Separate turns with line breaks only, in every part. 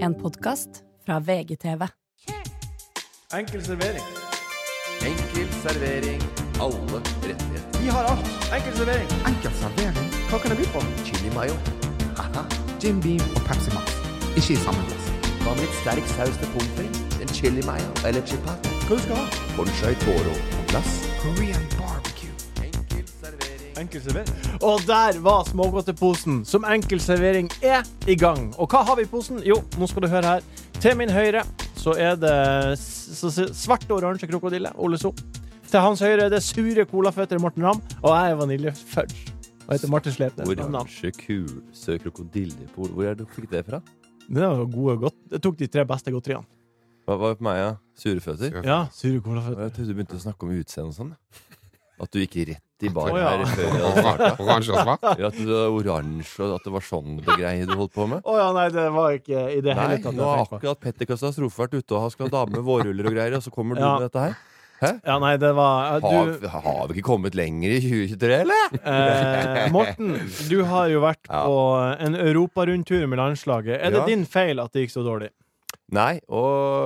En podkast fra VGTV.
Enkel servering.
Enkel servering. Alle rettigheter.
Vi har alt. Enkel servering.
Enkel servering,
Hva kan jeg by på?
Chili mayo. Haha.
Jim Beam og Pepsi Max. Ikke i samme glass.
Hva med litt sterk saus til pommes frites? En chili mayo eller chipat?
Hva du skal ha?
Bonchai toro på glass.
Korean barbecue.
Enkel servering.
Enkel servering. Og der var smågodteposen som enkel servering er i gang. Og hva har vi i posen? Jo, nå skal du høre her. Til min høyre så er det s- s- s- svart og oransje krokodille. Ole So. Til hans høyre er det sure colaføtter Morten Ramm. Og jeg er vaniljefudge. Og heter Martin Slepnes. Nam-nam.
Oransje kuse krokodillebol. Hvor er det du fikk det fra?
Det var gode godt. Jeg tok de tre beste godteriene.
Hva var det på meg, ja? Sure føtter?
Ja, sure colaføtter.
Jeg trodde du begynte å snakke om utseende og sånn. At du gikk rett i bar
Å, ja.
her før jeg hadde
Ora-
starta.
Oransje og svart.
Ja, at du var oransje, og at det var sånn det greie du holdt på med.
Å ja, nei, det var ikke i det hele
Nei,
tatt. jeg
nå har
tenkte på.
akkurat Petter Katastrofe vært ute og han skal ha dame med vårruller og greier, og så kommer du
Ja.
med dette her?
Ja, nei, det var
Har,
du,
har vi ikke kommet lenger i 2023, eller?
Eh, Morten, du har jo vært
Ja.
på en europarundtur med landslaget. Er det
Ja.
din feil at det gikk så dårlig?
Nei,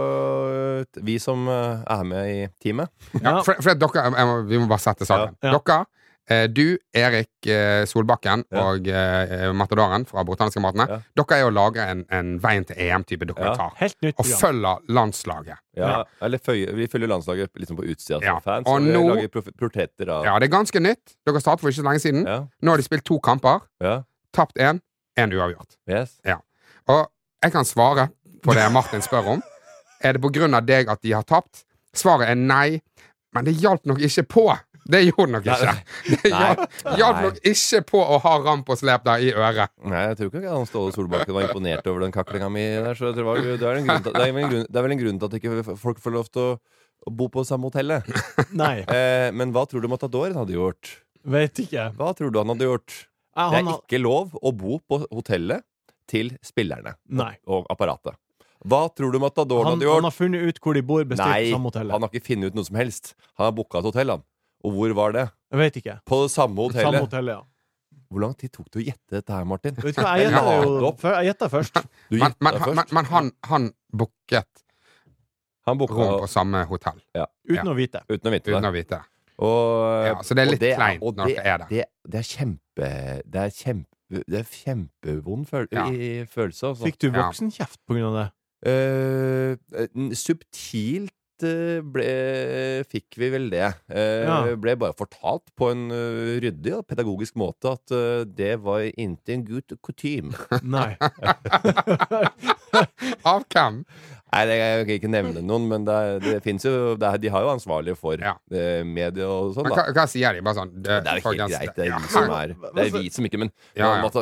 og vi som eh, er med i teamet
Ja, Fred, Fred, dere, jeg må, vi må bare sette saken.
Ja. Ja.
Dere, eh, du, Erik eh, Solbakken
Ja.
og eh, Matadoren fra Britanniske Matene,
Ja.
dere er jo å lagre en, en Veien til EM-type dokumentar.
Helt nytt
Og
program.
følger landslaget.
ja, Eller følger, vi følger landslaget liksom på utsida som
Ja,
fans,
og
og,
nå-
lager prof- portretter av
Ja, det er ganske nytt. Dere startet for ikke så lenge siden.
ja,
Nå har de spilt to kamper.
ja,
Tapt én, én uavgjort.
yes.
Og jeg kan svare på det Martin spør om. Er det på grunn av deg at de har tapt? Svaret er nei, men det hjalp nok ikke på. Det gjorde nok
Nei,
ikke. Det
Nei.
hjalp, hjalp
Nei.
nok ikke på å ha ramp og slep der i øret.
Nei, jeg tror ikke han Ståle Solbakken var imponert over den kaklinga mi der, så jeg tror det, var, det, er en grunn til, det, er vel en grunn, det er vel en grunn til at ikke folk får lov til å, å bo på samme hotellet.
Nei,
Eh, men hva tror du Matadoren hadde gjort?
vet ikke.
Hva tror du han hadde gjort?
Ja,
Det
han,
er
har-
ikke lov å bo på hotellet til spillerne
nei.
og apparatet. Hva tror du Matadoren
Han,
hadde
han
gjort?
har funnet ut hvor de bor, bestilt
Nei,
samme hotellet.
han har ikke funnet ut noe som helst. Han har booka et hotell, han. Og hvor var det?
Jeg vet ikke.
På det samme hotellet.
Samme hotellet, ja.
Hvor lang tid tok det å gjette dette her, Martin?
Vet du hva, jeg gjetta
Ja,
jo
opp.
før- jeg gjettet først.
Du
Men,
gjetta
men,
først.
men, men han, han booket
han booka
rom på samme hotell
Uten å vite.
uten å vite
uten
det.
å vite.
Og, eh,
Ja, så det er
og
litt kleint
og
når det er det.
det. Det er kjempe Det er kjempe det er kjempevond føl
Ja.
i- følelse. Altså.
Fikk du
Ja.
voksenkjeft på grunn av det?
Eh, n- subtilt eh, ble, fikk vi vel det. Eh,
Ja.
Ble bare fortalt på en eh, ryddig og pedagogisk måte at eh, det var ikke en good kutyme.
Nei.
Av hvem?
Nei, det, jeg kan ikke nevne noen, men det, er- det finnes jo det, er- De har jo ansvarlige for
Ja.
eh, media og sånn,
Men
da.
hva, hva sier de? Bare sånn
Men Det er jo helt
folkens,
greit. Det er
ja.
vi som er Det er vi som ikke Men,
Ja, ja.
man må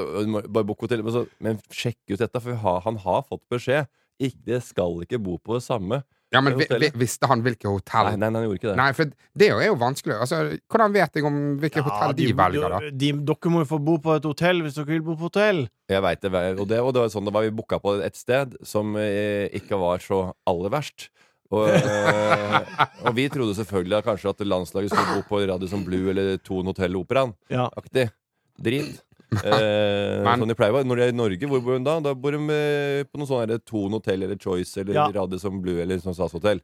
ta- bare bok hotell, men, så, men sjekk ut dette, for vi har- han har fått beskjed. Ikke, det skal ikke bo på det samme.
Ja, men vi,
hotellet.
vi, visste han hvilke hotell?
Nei, nei, nei, han gjorde ikke det.
Nei, for det er jo vanskelig. Altså, hvordan vet jeg om hvilke hotell de, velger, da?
de, de, dere må jo få bo på et hotell hvis dere vil bo på hotell.
Jeg vet det, og det, og det var sånn det var. Vi booka på et sted som eh, ikke var så aller verst. Og, eh, og vi trodde selvfølgelig at kanskje at landslaget skulle bo på Radisson Blue eller Thon Hotel Operaen-aktig.
Ja.
Drit. Eh,
Men-
sånn de pleier å være. Når de er i Norge, hvor bor de da? Da bor de eh, på noe sånn her Thon Hotel eller Choice eller
Ja.
Radisson Blue eller sånn SAS-hotell.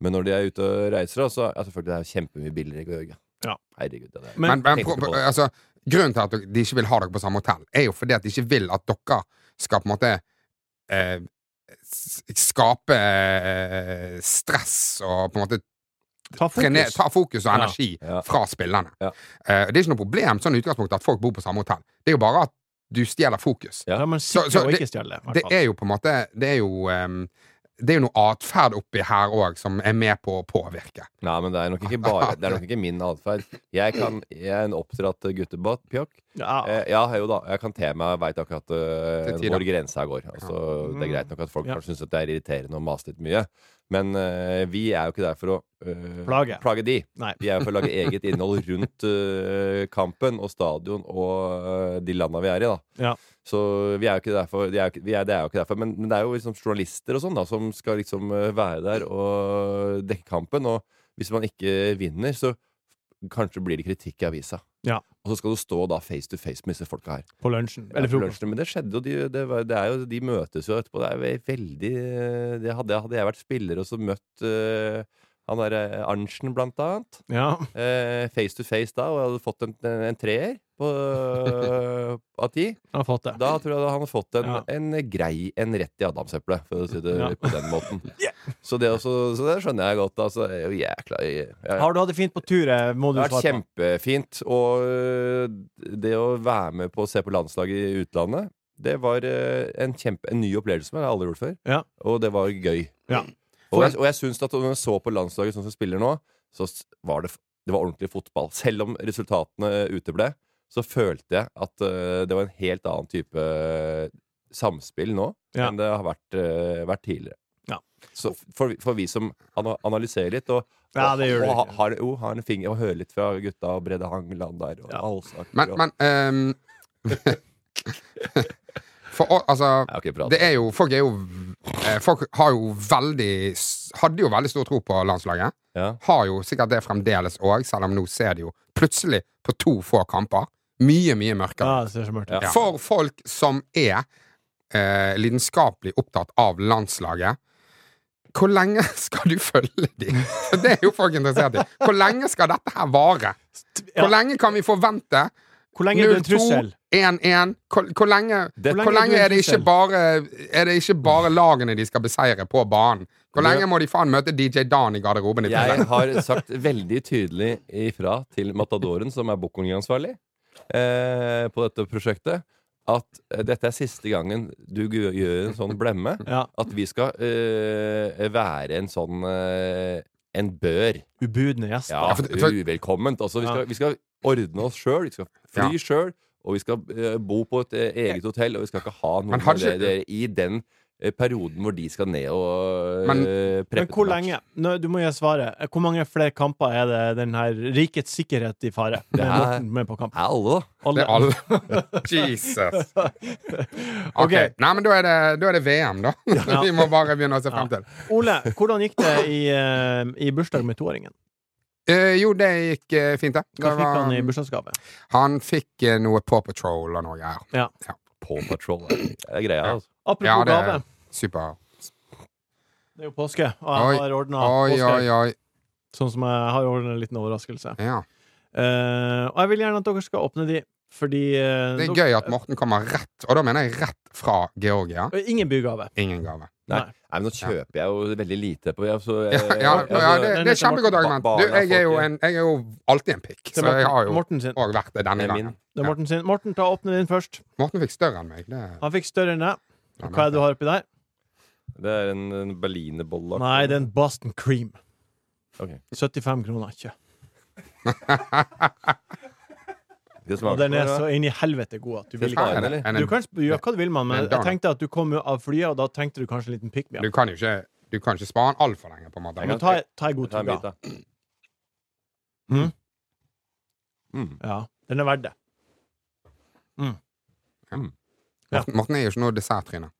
Men når de er ute og reiser, da, så er selvfølgelig det er kjempemye billigere i Georgia.
Ja.
Herregud, det der.
Men,
Men,
men
tenkte
pro-
på det.
altså, grunnen til at de ikke vil ha dere på samme hotell, er jo fordi at de ikke vil at dere skal på en måte eh, s- skape eh, stress og på en måte
ta
trene,
fokus.
ta fokus og
Ja.
energi
Ja.
fra spillerne.
Ja.
Eh, det er ikke noe problem sånn i utgangspunktet at folk bor på samme hotell. Det er jo bare at du stjeler fokus.
Ja, men
Så-
sikre
så
å
det-
ikke stjele. i hvert
Det
fall.
er jo på en måte Det er jo ehm, det er jo noe atferd oppi her òg som er med på å påvirke.
Nei, men det er nok ikke bare Det er nok ikke min atferd. Jeg, kan- jeg er en oppdratt guttepjokk.
Ja.
Eh, ja, jo da. Jeg kan te meg, veit akkurat eh,
Til tider.
hvor grensa går. Altså, det er greit nok at folk
Ja.
kanskje syns det er irriterende å mase litt mye. Men eh, vi er jo ikke der for å eh,
Plage.
de.
Nei.
Vi er jo for å lage eget innhold rundt eh, kampen og stadion og eh, de landa vi er i, da.
Ja.
Så vi er jo ikke derfor, de er, jo ikke- vi er, det er jo ikke derfor. Men, men det er jo liksom journalister og sånn da som skal liksom eh, være der og dekke kampen. Og hvis man ikke vinner, så kanskje blir det kritikk i avisa.
Ja.
Og så skal du stå da face to face med disse folka her.
På lunsjen.
Ja,
Eller
på
frokost.
lunsjen, Men det skjedde jo. De, det var, det er jo, de møtes jo etterpå. Det er jo veldig eh, det hadde, hadde jeg vært spiller og så møtt eh, han derre Arntzen, blant annet,
Ja.
eh, face to face da, og jeg hadde fått en, en, en treer på, eh, av ti,
Jeg har fått det.
da tror jeg da han hadde fått en,
Ja.
en grei en rett i adamseplet, for å si det
Ja.
på den måten. Så, det også, så det skjønner jeg godt. Altså, det er jo jækla jeg, jeg,
Har du hatt det fint på tur? eh, Må du
det har vært
svare på.
kjempefint. Og øh, det å være med på å se på landslaget i utlandet, det var øh, en, kjempe, en ny opplevelse som jeg aldri har gjort før.
Ja.
Og det var gøy.
Ja.
Og jeg, og jeg syns at når jeg så på landslaget sånn som spiller nå, så s- var det, f- det var ordentlig fotball. Selv om resultatene eh, uteble, så følte jeg at øh, det var en helt annen type øh, samspill nå
Ja.
enn det har vært, øh, vært tidligere.
Ja.
Så for, for vi som ana- analyserer litt, og
Ja, det gjør du
og, og
ikke.
ha- har, jo, har en finger og hører litt fra gutta og Brede Hangeland der og
Ja.
Alsaker
Men,
og
men ehm, For å- altså
Ja, ok, bra.
Det er jo Folk er jo eh, Folk har jo veldig s- Hadde jo veldig stor tro på landslaget.
ja.
Har jo sikkert det fremdeles òg, selv om nå ser de jo plutselig på to få kamper mye, mye mørkere.
Ja, det ser så mørkt ut.
Ja.
For folk som er eh, lidenskapelig opptatt av landslaget. Hvor lenge skal du følge dem? Det er jo folk interessert i. Hvor lenge skal dette her vare?
Ja.
Hvor lenge kan vi forvente?
Hvor lenge er du en
0-2,
trussel?
1-1 hvor, hvor lenge,
Det-
hvor lenge er, det ikke bare, er det ikke bare lagene de skal beseire på banen? Hvor lenge må de faen møte DJ Dan i garderoben? i tillegg?
Jeg har sagt veldig tydelig ifra til Matadoren, som er bookingansvarlig eh, på dette prosjektet, at eh, dette er siste gangen du gu- gjør en sånn blemme.
Ja.
At vi skal eh, være en sånn eh, en bør.
Ubudne gjester.
Ja,
for- for-
uvelkomment. Altså, vi, skal, vi skal ordne oss sjøl, vi skal fly selv sjøl, og vi skal eh, bo på et eh, eget hotell, og vi skal ikke ha
Men
noen
har
av
ikke-
dere i den eh, perioden hvor de skal ned og
Men-
eh, preppe
Men hvor
til match.
lenge? Nå, du må gi svaret. Hvor mange flere kamper er det den her rikets sikkerhet i fare? Det
er-
er Morten med på kamp.
Er alle, da?
Det er alle. Jesus. Ok,
Ok.
Nei, men da er, det, da er det VM, da. Vi må bare begynne å se frem til.
Ole, hvordan gikk det i, eh, i bursdag med toåringen?
Eh, jo, det gikk eh, fint, det. Det
Hva fikk
var-
han i bursdagsgave?
han fikk, eh, noe Paw Patrol og noe greier.
På Patrol er, er greia, altså.
Apropos
Ja, det
gave.
er super.
Det er jo påske, og
Oi.
jeg har ordna
Oi,
påske.
oi, oi.
Sånn som jeg har ordna en liten overraskelse.
Ja.
Eh, og jeg vil gjerne at dere skal åpne de, fordi eh,
Det er
dere-
gøy at Morten kommer rett, og da mener jeg rett fra Georgia.
Eh, Ingen bygave.
Ingen gave.
Nei.
Nei.
Nei, men nå kjøper jeg jo veldig lite på jeg, så,
Ja,
jeg-
ja,
altså,
ja det, det er et kjempegodt argument. Du, jeg er jo,
Barna,
en, jeg er jo alltid en pikk,
Det
så
er
jeg har
Morten,
jo
Morten sin.
òg vært det denne
Det er min.
gangen.
Det er Morten sin. Morten, ta åpne din først.
Morten fikk større enn meg. Det,
Han fikk større enn deg. Hva er det du har oppi der?
Det er en, en berlinerbolle.
Nei, det er en Boston Cream.
Ok.
75 kroner ikke.
Det
Og
smaker
den er
bra.
så inn i helvete god at du vil
Hva
ikke
er
ha
det?
den.
En- en-
Du kan sp- gjøre hva du vil, mann, men
Men da-
jeg tenkte at du kom jo av flyet, og da trengte du kanskje en liten pick-me-up.
du kan jo ikke Du kan ikke spare den altfor lenge, på en måte.
Men ta, ta en god
Jeg tar en
tur,
bit,
da.
da. Hmm?
Mm.
Mm.
Ja, den er verdt det.
Morten, Morten er jo ikke noe desserttryne.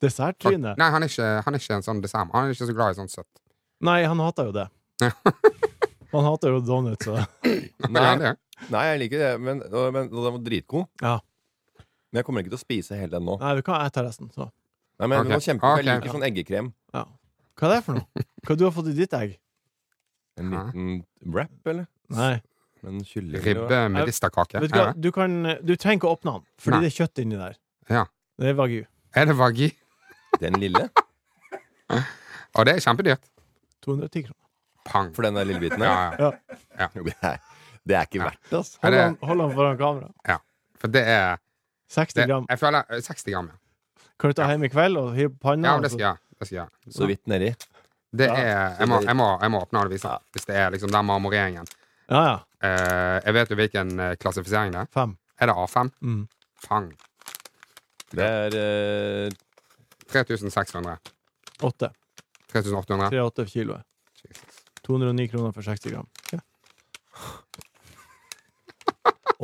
Desserttryne?
Nei, han er ikke, han er ikke en sånn dessert. Han er ikke så glad i sånn søtt.
Nei, han hater jo det.
Ja.
Han hater jo donuts og
Men
Nei.
han er det.
Nei, jeg liker det, men, og- men og den var dritgod.
Ja.
Men jeg kommer ikke til å spise hele den nå.
Nei, vi kan jeg tar resten, så.
Nei, men
Ok.
den var kjempe,
Ok.
Jeg liker sånn eggekrem.
Ja. Hva er det for noe? Hva du har fått i ditt egg?
En
Hæ?
liten wrap, eller?
Nei.
En kylling
Ribbe
Ja.
med distakake.
Vet du
Er
hva,
det?
du, kan, du trenger ikke å åpne den, fordi
Nei.
det er kjøtt inni der.
Ja.
Det er wagyu.
Er det vagi?
og Den lille?
Og det er kjempedyrt.
210 kroner.
Pang.
For den der lille biten
Ja,
der?
ja.
Det er- Det er ikke verdt det,
Er
altså.
Hold
det-
han, hold han foran kamera.
For det er
60
det,
gram.
Jeg føler eh, 60 gram, ja.
Kan du ta hjem i kveld og hive på panna?
Ja, men
og
det
så-
skal jeg gjøre. Det skal jeg gjøre.
Så vidt nedi.
Det
altså. Ja.
er, jeg, må, jeg, må, jeg må åpne den og vise den, hvis det er liksom den marmoreringen.
ja, ja.
Eh, jeg vet jo hvilken eh, klassifisering det er.
Fem.
Er det A5?
Mm.
Fang.
Det er eh,
3600.
Åtte.
3800.
3,8 kiloet.
Jesus.
209 kroner for 60 gram.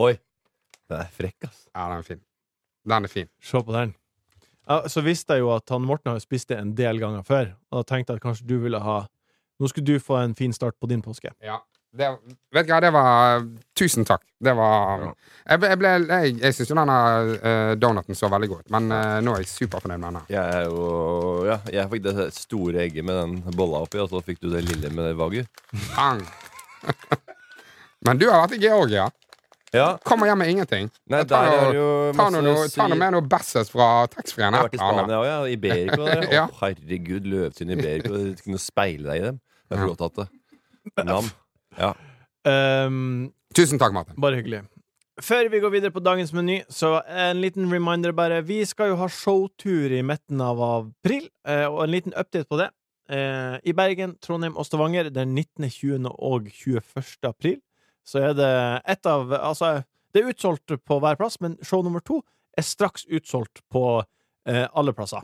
Oi! Den er frekk, ass.
Ja, den er fin. Den er fin.
Se på den. Ja, så visste jeg jo at han Morten har jo spist det en del ganger før, og da tenkte jeg at kanskje du ville ha Nå skulle du få en fin start på din påske.
Ja. Det, vet du hva, det var eh, Tusen takk. Det var
Ja.
Jeg, ble- jeg, ble- jeg, jeg syns jo denne eh, donaten så veldig god ut, men eh, nå er jeg superfornøyd med denne.
Jeg er jo Ja, jeg fikk det store egget med den bolla oppi, og så fikk du det lille med det vagu.
Bang. men du har vært i Georgia.
Ja.
Kommer hjem med ingenting.
Nei,
ta noe-
der er det
ta
jo
noe,
masse
noe- ta
syr-
noe med noe Basses fra taxfree-en.
Jeg har vært i
etter, Arne.
Spania òg, ja. Iberico. Der.
Ja.
Å, herregud, Løvtynn Iberico. Du kunne speile deg i dem. Det er
Ja.
flott at det. Nam. Ja.
Um,
Tusen takk, Martin.
Bare hyggelig. Før vi går videre på dagens meny, så en liten reminder bare. Vi skal jo ha showtur i midten av april, eh, og en liten update på det. Eh, I Bergen, Trondheim og Stavanger den 19., 20. og 21. april. Så er det ett av Altså, det er utsolgt på hver plass, men show nummer to er straks utsolgt på eh, alle plasser.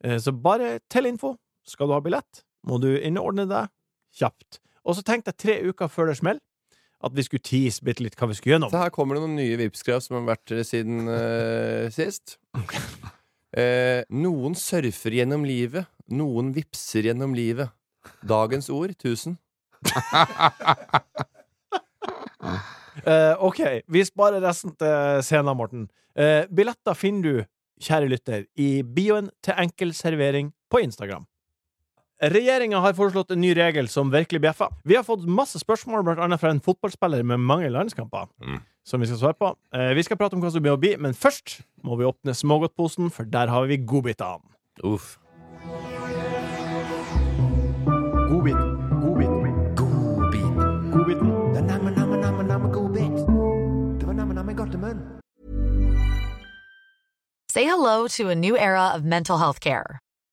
Eh, så bare til info. Skal du ha billett, må du innordne deg kjapt. Og så tenk deg tre uker før det smeller, at vi skulle tease bitte litt hva vi skulle gjennom.
Så her kommer det noen nye Vipps-krav som har vært eh, siden eh, sist. Eh, noen surfer gjennom livet, noen vipser gjennom livet. Dagens ord 1000.
Eh, ok, vi sparer resten til scenen, Morten. Eh, billetter finner du, kjære lytter, i bioen til enkel servering på Instagram. Regjeringa har foreslått en ny regel som virkelig bjeffer. Vi har fått masse spørsmål, blant annet fra en fotballspiller med mange landskamper,
Mm.
som vi skal svare på. Eh, vi skal prate om hva som blir å bli, men først må vi åpne smågodtposen, for der har vi godbitene.
Uff.
Godbit. Godbit. Godbiten.
Say hello to a new era of mental health care.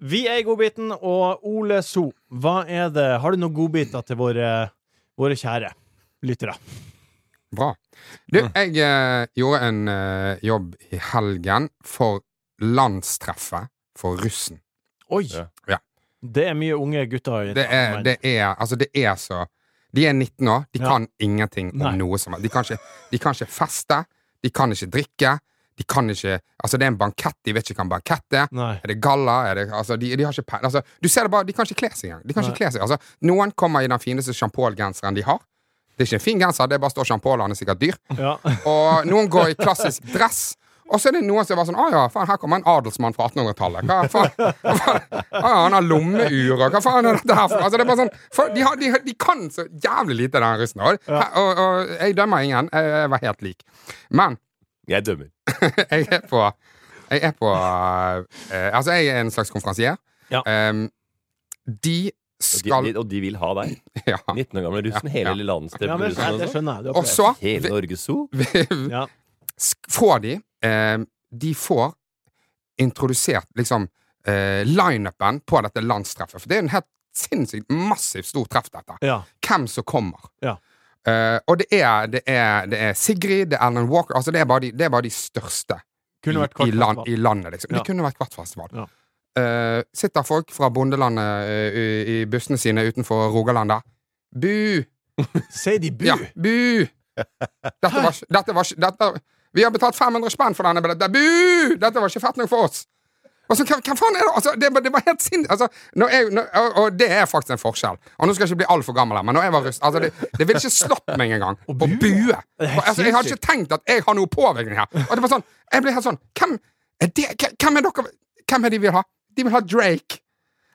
Vi er i godbiten, og Ole So, hva er det Har du noen godbiter til våre, våre kjære lyttere?
Bra. Du, jeg eh, gjorde en eh, jobb i helgen for landstreffet for russen.
Oi!
Ja.
Det er mye unge gutter. i-
Det er, det er, altså det er så De er 19 år, de
Ja.
kan ingenting om
Nei.
noe som helst. De, kan ikke- de kan ikke feste, de kan ikke drikke, de kan ikke Altså, det er en bankett, de vet ikke hva en bankett er.
Nei.
Er det galla? Er det, altså, de, de har ikke peiling. Altså, du ser det bare, de kan ikke kle seg engang. De kan ikke kle seg. Altså, noen kommer i den fineste sjampolgenseren de har. Det er ikke en fin genser, det er bare står sjampol, han er sikkert dyr.
Ja.
Og noen går i klassisk dress. Og så er det noen som var sånn Å ja, faen, her kommer en adelsmann fra 1800-tallet. Hva faen? Hva faen? Å ja, han har lommeur, og hva faen er dette her for noe? Altså, det er bare sånn, for, de, har, de, har- de kan så jævlig lite, den russen. Og, og, og jeg dømmer ingen. Jeg, jeg var helt lik. Men
Jeg dømmer.
jeg er på Jeg er på eh, Altså, jeg er en slags konferansier.
Ja.
Ehm, de
Og
skal
de, de, og de vil ha deg.
Ja.
19 år gamle russen, hele
Ja.
lille landsdelen.
ja, men det skjønner jeg. Det skjønner jeg. Du har
Og så
Hele Norges Zoo.
Ja.
sk- får de ehm, De får introdusert liksom eh, lineupen på dette landstreffet. For det er en helt sinnssykt massivt stort treff, dette.
Ja.
Hvem som kommer.
Ja.
Eh, og det er, det, er, det er Sigrid, det er Alan Walker altså det, er bare de, det er bare de største
Kunne vært
i, i, land,
kvartfestival.
i landet, liksom.
Ja.
Det kunne vært kvartfestival.
Ja.
Eh, sitter folk fra bondelandet eh, i, i bussene sine utenfor Rogalandet. Bu!
Sier de bu?
Ja, bu! Dette var, ikke- dette var ikke dette, Vi har betalt 500 spenn for denne billetten. Bu! Dette var ikke fett nok for oss! Altså, hvem, hvem faen er det? Altså, det, var- det var helt sinnssykt. Altså, når jeg- når- og, og det er faktisk en forskjell. Og nå skal jeg ikke bli altfor gammel, her, men når jeg var russ altså, det, det ville ikke slått meg engang å
bue.
bue.
er helt
Og, altså, jeg hadde ikke tenkt at jeg har noe påvirkning her. Og det var sånn, Jeg ble helt sånn Hvem er, det, hvem er dere Hvem er de vil ha? De vil ha Drake.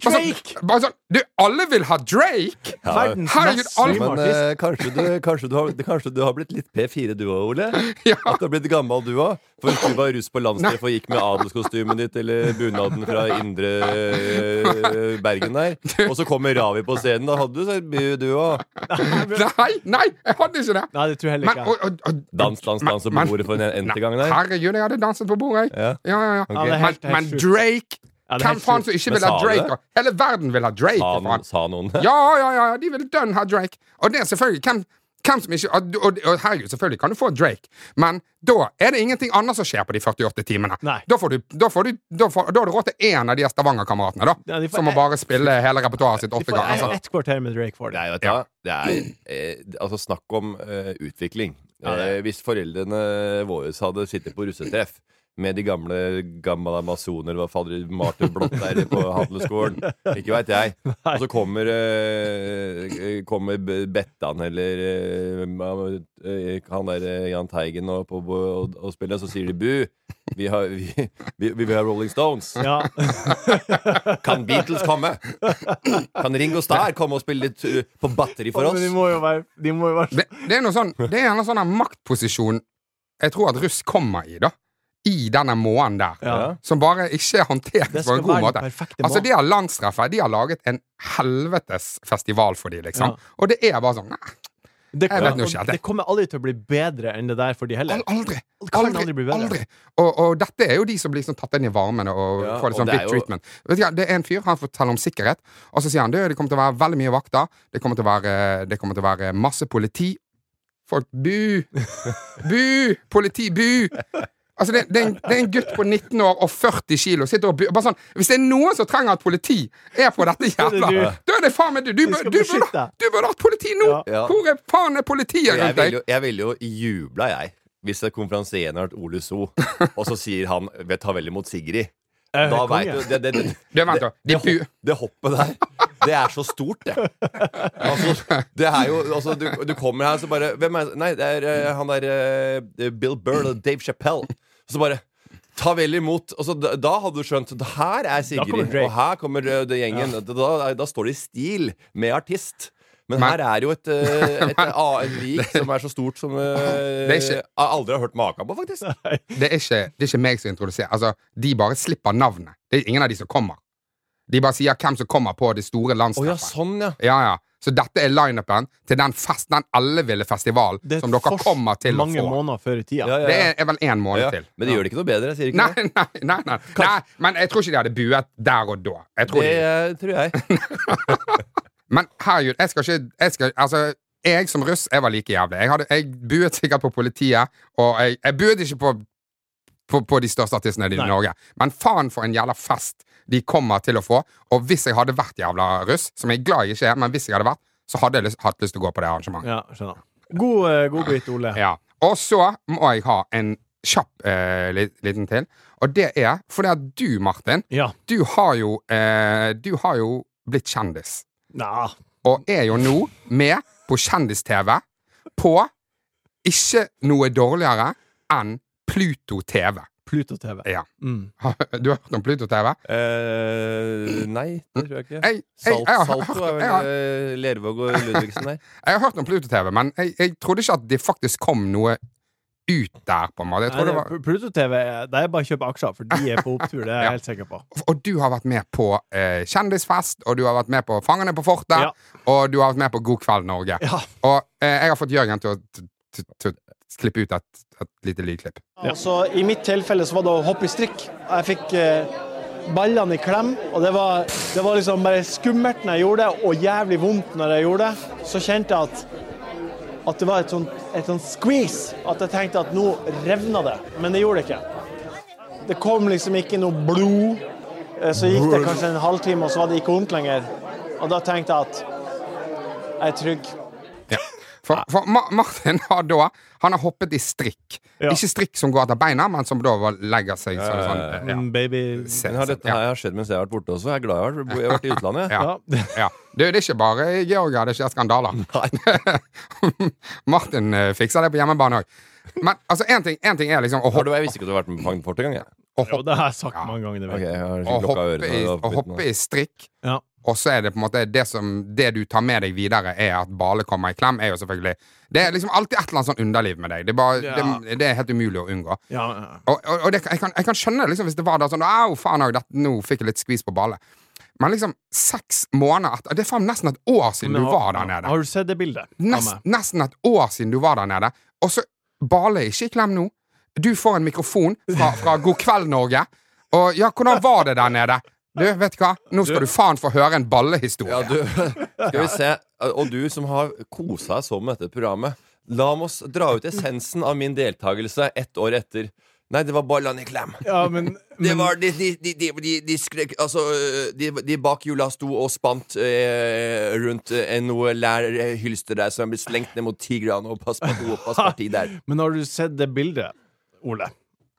Drake!
Bare sånn, du, alle vil ha Drake!
Verdens
Herregud,
mest
alle-
streama
Men
artist.
eh, kanskje, du, kanskje, du har, kanskje du har blitt litt P4 du òg, Ole?
Ja.
At du har blitt gammel du òg? For hvis du var russ på landstreff og gikk med adelskostymet ditt eller bunaden fra indre eh, Bergen der, og så kommer Ravi på scenen, da hadde du så mye du òg.
Nei, nei, jeg hadde ikke det!
Nei, det tror jeg heller
Men,
ikke.
og, og, og,
Dans, dans, dans og
men-
bordet for en endte gang der.
Herregud, jeg hadde danset på bordet, jeg.
Ja.
Ja, ja, ja.
Ja, det er helt-
Men, men
helt sjukt.
Drake
Ja, det er
Hvem
helt
faen
sjukt.
som ikke
Men
vil ha
sa du
Drake?
det?
da? Hele verden vil ha Drake!
Sa,
for faen.
noen- sa noen det?
Ja, ja, ja, ja, de vil dønn ha Drake. Og det er selvfølgelig hvem, hvem som ikke og, og, og herregud, selvfølgelig kan du få Drake, men da er det ingenting annet som skjer på de 48 timene.
Nei.
Da får du, da får du, da får, da har du råd til én av de Stavanger-kameratene, da.
Ja, de får-
som må bare spille hele repertoaret sitt
Vi
åtte
får
ganger.
ett kvarter med Drake for
Det
det.
er jo et, det er, eh, altså snakk om eh, utvikling.
Ja, det
Eh, hvis foreldrene våre hadde sittet på russetreff med de gamle gamle amazoner, hva fader Martin Blått der på handelsskolen, ikke veit jeg. Og så kommer, eh, kommer B- Bettan eller eh, ma- eh, han der eh, Jahn Teigen og, på- og, og spiller, så sier de bu. Vi har, vi, vi, vi har Rolling Stones.
Ja.
Kan Beatles komme? Kan Ringo Starr komme og spille litt eh, på batteri for
Men
oss?
de må jo være, de må jo være
Det, det er noe sånn, det er en sånn her maktposisjon jeg tror at russ kommer i, da. I denne månen der.
Ja.
Som bare ikke
Det
håndteres på
skal
en god
være den
måte.
perfekte
Altså,
månen.
de har landstreffet. De har laget en helvetes festival for de, liksom.
Ja.
Og det er bare sånn nei,
Det,
Jeg vet nå
og
ikke, det-
det kommer aldri til å bli bedre enn det der for de heller.
al- Aldri!
kan
Aldri!
aldri bli
aldri,
bedre.
Og, og dette er jo de som blir sånn tatt inn i varmen og
Ja,
får litt
og
sånn
det er
big
jo-
treatment. Vet du, hva, det er en fyr, han forteller om sikkerhet, og så sier han du, det kommer til å være veldig mye vakter, det kommer til å være, det kommer til å være masse politi. Folk bu! Bu! Politi, bu! Altså, det, det, er en, det er en gutt på 19 år og 40 kilo sitter og bu, bare sånn, Hvis det er noen som trenger at politi er på dette
det
jævla
du.
Da er det faen meg du! Du,
Vi
bør-
skal
du, burde-
beskytte.
du burde hatt politi nå!
Ja.
Ja.
Hvor er faen er politiet
Jeg
rundt deg?
ville jo, jeg vil jo jubla, jeg, hvis det er konferansieren har vært Ole So, og så sier han ved ta vel imot Sigrid.
Eh,
Da
konge.
veit du det, det, det,
Du, vent da. De
det,
bu-
hopp- det hoppet der, det er så stort, det. Altså, det er jo altså, du, du kommer her, så bare Hvem er Nei, det er eh, han der eh, Bill Burr og Dave Chappelle. Så bare Ta vel imot. Altså, da, da hadde du skjønt det Her
kommer
er Sigrid,
Drake.
og her kommer eh, det gjengen. Da, da står det i stil med artist. Men
Men-
her er jo et, eh, et, a- et lik som er så stort som eh,
Det er ikke-
jeg aldri har hørt maken på, faktisk.
det er ikke, det er ikke meg som introduserer. Altså, de bare slipper navnet. Det er ingen av de som kommer. De bare sier hvem som kommer på det store
Å ja,
landstreffet.
sånn, ja.
ja, ja. Så dette er lineupen til den fest, den elleville festivalen
Det er
som dere
fors-
kommer til å
mange
få.
måneder før i tida.
ja, ja,
Det
ja.
er, er vel én måned
Ja,
til.
Men det gjør det ikke noe bedre. Jeg sier ikke
Nei,
det.
nei, nei, nei. nei. Men jeg tror ikke de hadde buet der og da. Jeg tror
Det
de-
eh, tror jeg.
Men herregud, jeg skal ikke jeg skal, Altså, jeg som russ, jeg var like jævlig. Jeg, hadde, jeg buet sikkert på politiet, og jeg, jeg buet ikke på, på, på de største artistene i
Nei.
Norge. Men faen for en jævla fest de kommer til å få. Og hvis jeg hadde vært jævla russ, som jeg er glad jeg ikke er, men hvis jeg hadde vært, så hadde jeg lyst, hatt lyst til å gå på det arrangementet.
Ja, skjønner. God, eh, god bit, Ole.
Ja. Og så må jeg ha en kjapp eh, li- liten til, og det er fordi at du, Martin,
Ja.
du har jo, eh, du har jo blitt kjendis.
Nja
og er jo nå med på kjendis-TV på ikke noe dårligere enn Pluto TV.
Pluto TV.
Ja.
Mm.
Du har hørt om Pluto TV?
Eh, nei, det tror jeg ikke.
Jeg, jeg, jeg,
Salt,
har,
Salto er
jeg,
vel
har,
eh, Lervåg og Ludvigsen der.
jeg har hørt om Pluto TV, men jeg, jeg trodde ikke at det faktisk kom noe ut der, på en måte. Jeg
Nei,
trodde
det,
det var,
Pl- Pluto TV er- det er bare å kjøpe aksjer, for de er på opptur. Det er jeg
Ja.
helt sikker på.
og du har vært med på eh, Kjendisfest, og du har vært med på Fangene på fortet,
Ja.
og du har vært med på God kveld, Norge.
Ja.
Og eh, jeg har fått Jørgen til å, til, til, til å klippe ut et, et lite lydklipp.
Og Så I mitt tilfelle så var det å hoppe i strikk. Jeg fikk eh, ballene i klem, og det var, det var liksom bare skummelt når jeg gjorde det, og jævlig vondt når jeg gjorde det. Så kjente jeg at, at det var et sånt, et sånt squeeze, at jeg tenkte at nå revna det. Men det gjorde det ikke. Det kom liksom ikke noe blod. Eh, Så gikk det kanskje en halvtime, og så var det ikke vondt lenger. Og da tenkte jeg at jeg er trygg.
For, for Ma Martin har da Han har hoppet i strikk.
Ja.
Ikke strikk som går etter beina, men som da var- legger seg sånn. sånn ja.
Mm, baby
Se-
Men har dette
ja.
her skjedd mens jeg har vært borte også? Jeg er glad jeg har vært- jeg har vært i utlandet. jeg.
Ja. Ja. Du, det er ikke bare i Georgia det skjer skandaler. Martin eh, fikser det på hjemmebane òg. Men altså, én ting, en ting er liksom å
Har
hoppe liksom
du, jeg visste ikke at du har vært med på Fangfortet engang. jeg.
Å
Jo,
hoppe,
det har jeg sagt
Ja.
mange ganger. Det
Ok, jeg har
å
ikke lukka
hoppe,
ørene.
i,
da,
å
på
hoppe
midten.
i strikk,
Ja.
og så er det på en måte det som Det du tar med deg videre, er at Bale kommer i klem, er jo selvfølgelig Det er liksom alltid et eller annet sånn underliv med deg. Det er, bare,
Ja.
det, det er helt umulig å unngå.
ja, ja.
Og, og, og det, jeg, kan, jeg kan skjønne det liksom, hvis det var da sånn Au, faen òg, nå fikk jeg litt skvis på Bale. Men liksom seks måneder etter Det er faen nesten et år siden
Men
du
har-
var der nede.
Har du sett det bildet? av
Nest,
meg?
nesten et år siden du var der nede, og så Bale er ikke i klem nå. Du får en mikrofon fra, fra God kveld, Norge. Og ja, hvordan var det der nede? Du, vet du hva? Nå skal du faen få høre en ballehistorie.
Ja, du, skal vi se. Og du som har kosa deg sånn med dette programmet. La oss dra ut essensen av min deltakelse ett år etter. Nei, det var ballene i klem.
Ja, men,
Det
men
var de, de, de, de, de, de skrek Altså, de, de bak hjula sto og spant eh, rundt eh, noe lærhylster der som er blitt slengt ned mot tigrene, og pass parti, pass parti der.
Men har du sett det bildet, Ole?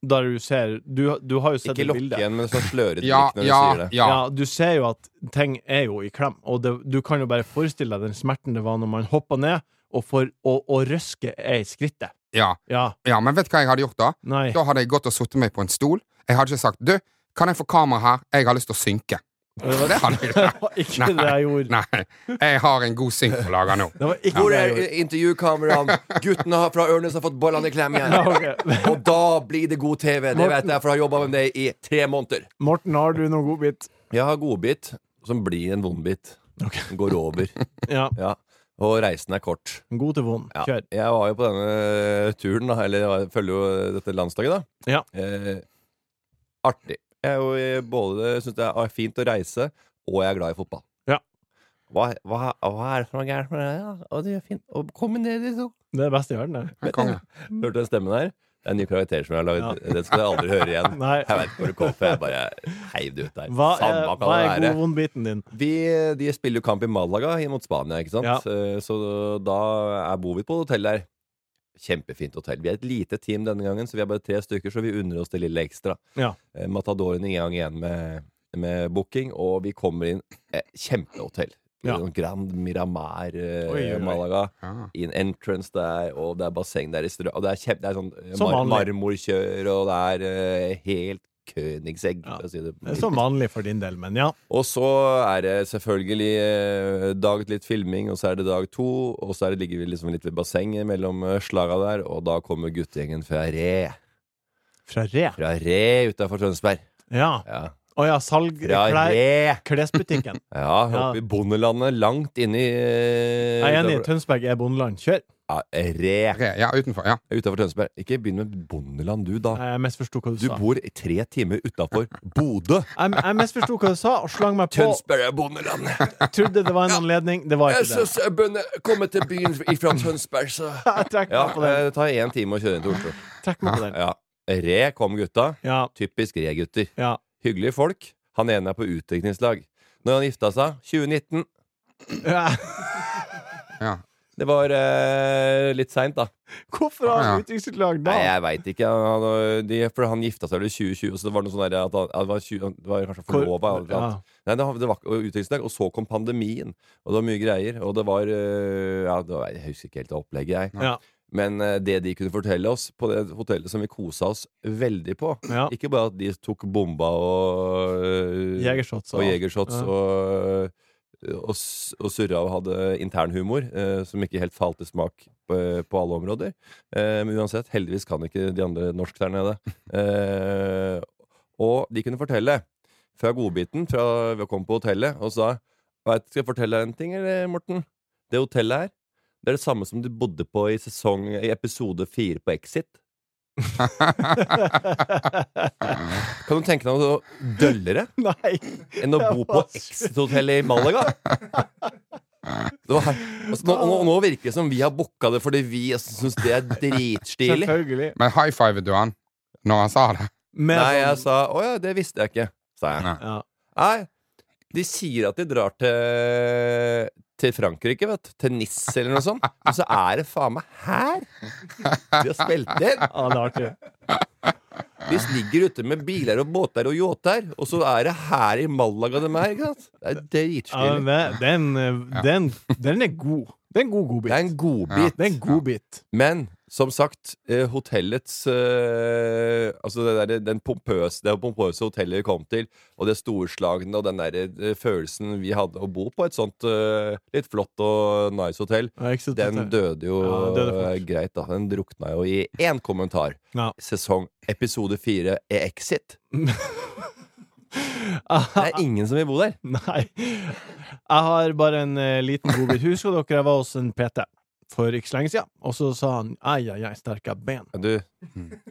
Der du ser Du, du har jo sett
Ikke
det
lokke
bildet.
igjen med sånn slørete
Ja,
blikk når
ja,
du sier det.
Ja.
ja.
du ser jo at ting er jo i klem, og det, du kan jo bare forestille deg den smerten det var når man hoppa ned og, for, og, og røsker er i skrittet.
ja.
Ja.
Ja, men vet du hva jeg hadde gjort da?
Nei.
Da hadde jeg gått og sittet meg på en stol. Jeg hadde ikke sagt 'Du, kan jeg få kamera her? Jeg har lyst til å synke'. Det hadde
Det
jeg ikke.
var ikke det jeg gjorde.
Nei. Jeg har en god synk på lager nå.
Det var ikke
Hvor
det
er
jeg gjorde.
intervjukameraene? Guttene har- fra Ørnes har fått ballene i klem igjen.
ok.
Og da blir det god TV. Det vet jeg, for jeg har jobba med det i tre måneder.
Morten, har du noen godbit?
Jeg har godbit som blir en vondbit. Den Går over.
Ja.
Ja. Og reisen er kort.
God til vond.
Ja.
Kjør.
Jeg var jo på denne turen, da, eller jeg følger jo dette landslaget, da.
Ja.
Eh, artig. Jeg er jo eh, både syns det er fint å reise, og jeg er glad i fotball.
Ja.
Hva, hva, hva er det som er gærent med det? da? Å, det er fint å kombinere de to.
Det er det beste i verden, det.
Konge.
Hørte den stemmen der? Det er en ny karakter som jeg har lagd.
Ja.
Den skal jeg aldri høre igjen.
Nei.
Jeg vet ikke hvor det kom fra. Jeg bare heiv det ut der.
Hva er,
Samme kan
hva
det
er
være.
god vond-biten din?
Vi, de spiller jo kamp i Malaga mot Spania, ikke sant?
Ja.
Eh, Så da er, bor vi på et hotell der. Kjempefint hotell. Vi er et lite team denne gangen, så vi er bare tre stykker, så vi unner oss det lille ekstra.
Ja.
Eh, Matadoren i gang igjen med, med booking, og vi kommer inn. Eh, kjempehotell.
Ja.
Sånn Grand Miramar eh,
Oi, oi, oi.
Malaga
Ja.
i en entrance der, og det er basseng der i strø... Og det er, kjem, det er sånn eh,
Som
mar
vanlig.
marmorkjør, og det er eh, helt Königsegg,
Ja.
for å si det.
Det er som vanlig for din del, men ja.
Og så er det selvfølgelig eh, dag litt filming, og så er det dag to, og så er det, ligger vi liksom litt ved bassenget mellom eh, slaga der, og da kommer guttegjengen fra Re.
Fra Re.
Fra Re utafor Tønsberg.
Ja.
Ja.
Å ja, salg
Fra
klær,
Re!
klesbutikken.
Ja, oppe i bondelandet, langt inni eh,
Jeg er enig.
utenfor-
Tønsberg er bondeland. Kjør.
Ja, Re.
Re- Ja, utenfor. Ja.
Utafor Tønsberg. Ikke begynn med bondeland, du, da.
Nei, altså. Jeg misforsto hva du
Du
sa.
bor i tre timer utafor Bodø.
Jeg, jeg misforsto hva du sa, og slang meg på.
Tønsberg er bondeland.
Trodde det var en anledning. Det var
Jeg
ikke det.
syns jeg burde komme til byen ifra Tønsberg, så
Jeg trekker
Ja, eh,
meg på den.
det tar én time å kjøre inn til Oslo.
Trekk meg på den.
Ja. Re kom gutta.
Ja,
Typisk re-gutter.
ja.
Hyggelige folk. Han ene er på utdrikningslag. Når han gifta seg, 2019
ja.
ja.
Det var eh, litt seint, da.
Hvorfor har
Ja.
han utdrikningslag da?
Nei, jeg veit ikke. Han, han, de, for han gifta seg vel i 2020, så det var noe sånn der at han, han, var 20, han var kanskje
Hvor-
forlova.
ja.
Nei, det var, det var og utdrikningslag, og så kom pandemien. Og det var mye greier. Og det var eh, ja, det var, Jeg husker ikke helt opplegget, jeg.
Ja.
Men eh, det de kunne fortelle oss på det hotellet som vi kosa oss veldig på
Ja.
Ikke bare at de tok bomba og eh,
Jegershots og
og
alt.
jegershots
Ja.
og, og, s- og surra og hadde internhumor eh, som ikke helt falt i smak på, på alle områder. Eh, men uansett, heldigvis kan ikke de andre norsk der nede. Eh, og de kunne fortelle fra godbiten fra vi kom på hotellet, og sa Vet, Skal jeg fortelle deg en ting, eller, Morten? Det hotellet her det er det samme som du bodde på i, sesong, i episode fire på Exit. Kan du tenke deg noe døllere?
Nei.
enn å
Det
bo på
var sjukt.
Exit-hotellet i Malaga. Det var, altså, nå, nå, nå virker det som vi har booka det fordi vi syns det er dritstilig.
Selvfølgelig.
Men high fivet du han når han sa det?
Med
Nei, jeg
sånn-
sa å ja, det visste jeg ikke, sa jeg.
Nei.
ja.
Nei, de sier at de drar til til Frankrike, vet du. Til Nis eller noe sånt. Men så er det faen meg her! De har spilt inn!
ja, det er artig.
De ligger ute med biler og båter og yachter, og så er det her i Malaga de er, ikke sant? Det er
Ja,
dritstilig.
men det- den, eh, den, den er god. Det er en god godbit.
Det er en godbit.
Det er en godbit.
Men Som sagt, eh, hotellets eh, Altså det der, den pompøse, det pompøse hotellet vi kom til, og det storslagne og den der eh, følelsen vi hadde å bo på et sånt eh, litt flott og nice hotell, den døde jo
Ja, den døde fort.
eh, greit, da. Den drukna jo i én kommentar.
Ja.
Sesong episode fire er exit. Det er ingen som vil bo der.
Ah, Nei. Jeg har bare en eh, liten godbit. Husker dere jeg var hos en PT for ikke så lenge siden? Og så sa han ai, ai, ai, sterke ben.
Du,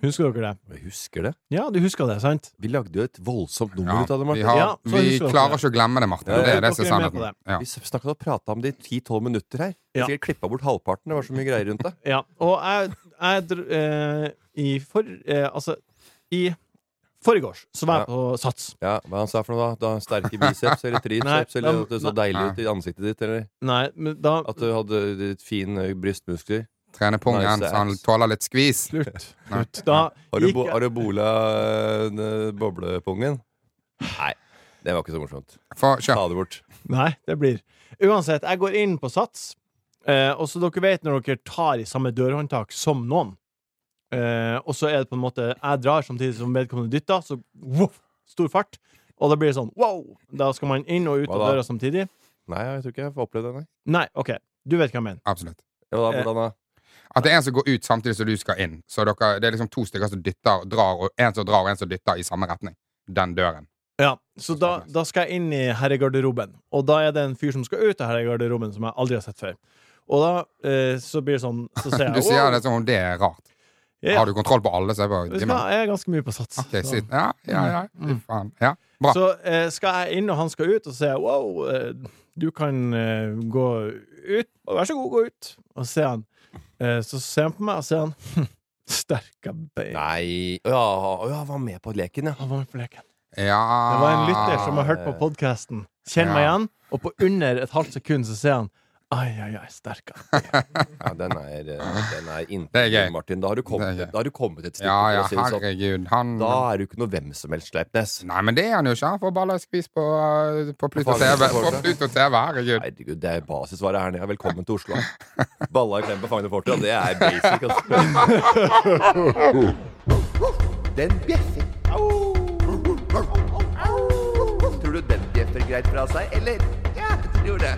Husker dere det?
jeg husker det.
Ja, du husker det, sant?
Vi lagde jo et voldsomt nummer ut
Ja,
av det,
vi,
Martin.
har,
Ja, så
vi
husker vi
klarer
det.
ikke å glemme det, Martin.
Ja,
Det er det
dere
som
er med
er
på
sannheten. Ja.
Vi snakket og pratet om det i 10-12 minutter her. Vi
Ja.
sikkert klippa bort halvparten. Det var så mye greier rundt det.
Ja, og jeg, jeg dr- eh, I for... Eh, altså, i forgårs så var jeg på Sats.
Ja, Hva han sa for noe da? da sterke biceps eller triceps?
Nei,
eller
da-
at det så deilig ut i ansiktet ditt? Eller
Nei, men da
at du hadde litt fine brystmuskler?
Trene pungen,
Nice
så han
ass.
tåler litt skvis.
Slutt.
Nei.
Slutt. Da
Har du,
gikk
bo,
jeg
har du bola eh, boblepungen? Nei. Det var ikke så morsomt.
Få kjør.
Ta det bort.
Nei, det blir Uansett, jeg går inn på Sats, eh, og så dere vet når dere tar i samme dørhåndtak som noen, eh, og så er det på en måte Jeg drar samtidig som vedkommende dytter, så voff, stor fart, og da blir det sånn wow! Da skal man inn og ut
Hva
av
da?
døra samtidig.
Nei, jeg tror ikke jeg får opplevd det, nei.
Nei, OK, du vet hva jeg mener.
Absolutt.
Ja, da,
Eh.
hvordan da?
At det er en som går ut samtidig som du skal inn. Så dere, det er liksom to stykker som dytter og drar, og en som drar og en som dytter i samme retning. Den døren.
Ja, Så da, da skal jeg inn i herregarderoben, og da er det en fyr som skal ut av herregarderoben, som jeg aldri har sett før. Og da eh, så blir det sånn Så ser jeg
Du sier det som om det er rart.
Ja.
Har du kontroll på alle, så er det bare
Vet du hva,
dimmer.
jeg er ganske mye på Sats.
Ok,
så-
sitt. Ja, ja, ja. Fy faen. Ja, bra.
Så eh, skal jeg inn, og han skal ut, og så sier jeg wow, eh, du kan eh, gå ut. Vær så god, gå ut. Og så ser han eh, Så ser han på meg, og så sier han hm, sterke bein.
Nei Å ja, å ja, han var med på leken, ja.
Han var med på leken.
Ja.
Det var en lytter som har hørt på podkasten. Kjenn meg
Ja.
igjen. Og på under et halvt sekund så sier han ai, ai, ai, sterke.
ja den er, eh, den er
Det er
inntil,
gøy.
Martin. Da har du kommet,
Det er gøy.
da har du kommet et stykke.
Ja, ja,
for å si det sånn.
herregud. Han
Da er du ikke noe hvem som helst Sleipnes.
Nei, men det er han jo ikke. Han får bare skvis på, uh, på Pluto TV.
Faen, det får
På
det.
Pluto TV, herregud.
Herregud, det er basisvaret her nede. Velkommen til Oslo. Balla i klem på Fagne Fortra, det er basic. Altså. Den bjeffer. Tror du den bjeffer greit fra seg, eller? Ja, jeg tror det.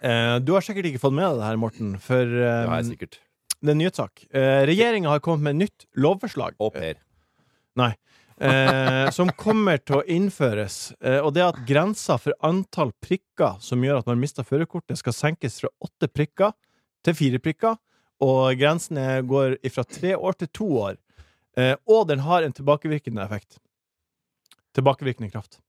Eh, du har sikkert ikke fått med deg det her, Morten, for eh,
Ja, jeg er sikkert.
det er en nyhetssak. Eh, Regjeringa har kommet med nytt lovforslag.
Au pair.
Nei. Eh, som kommer til å innføres. Eh, og det at grensa for antall prikker som gjør at man mister førerkortet, skal senkes fra åtte prikker til fire prikker. Og grensen er- går fra tre år til to år. Eh, og den har en tilbakevirkende effekt. Tilbakevirkende kraft.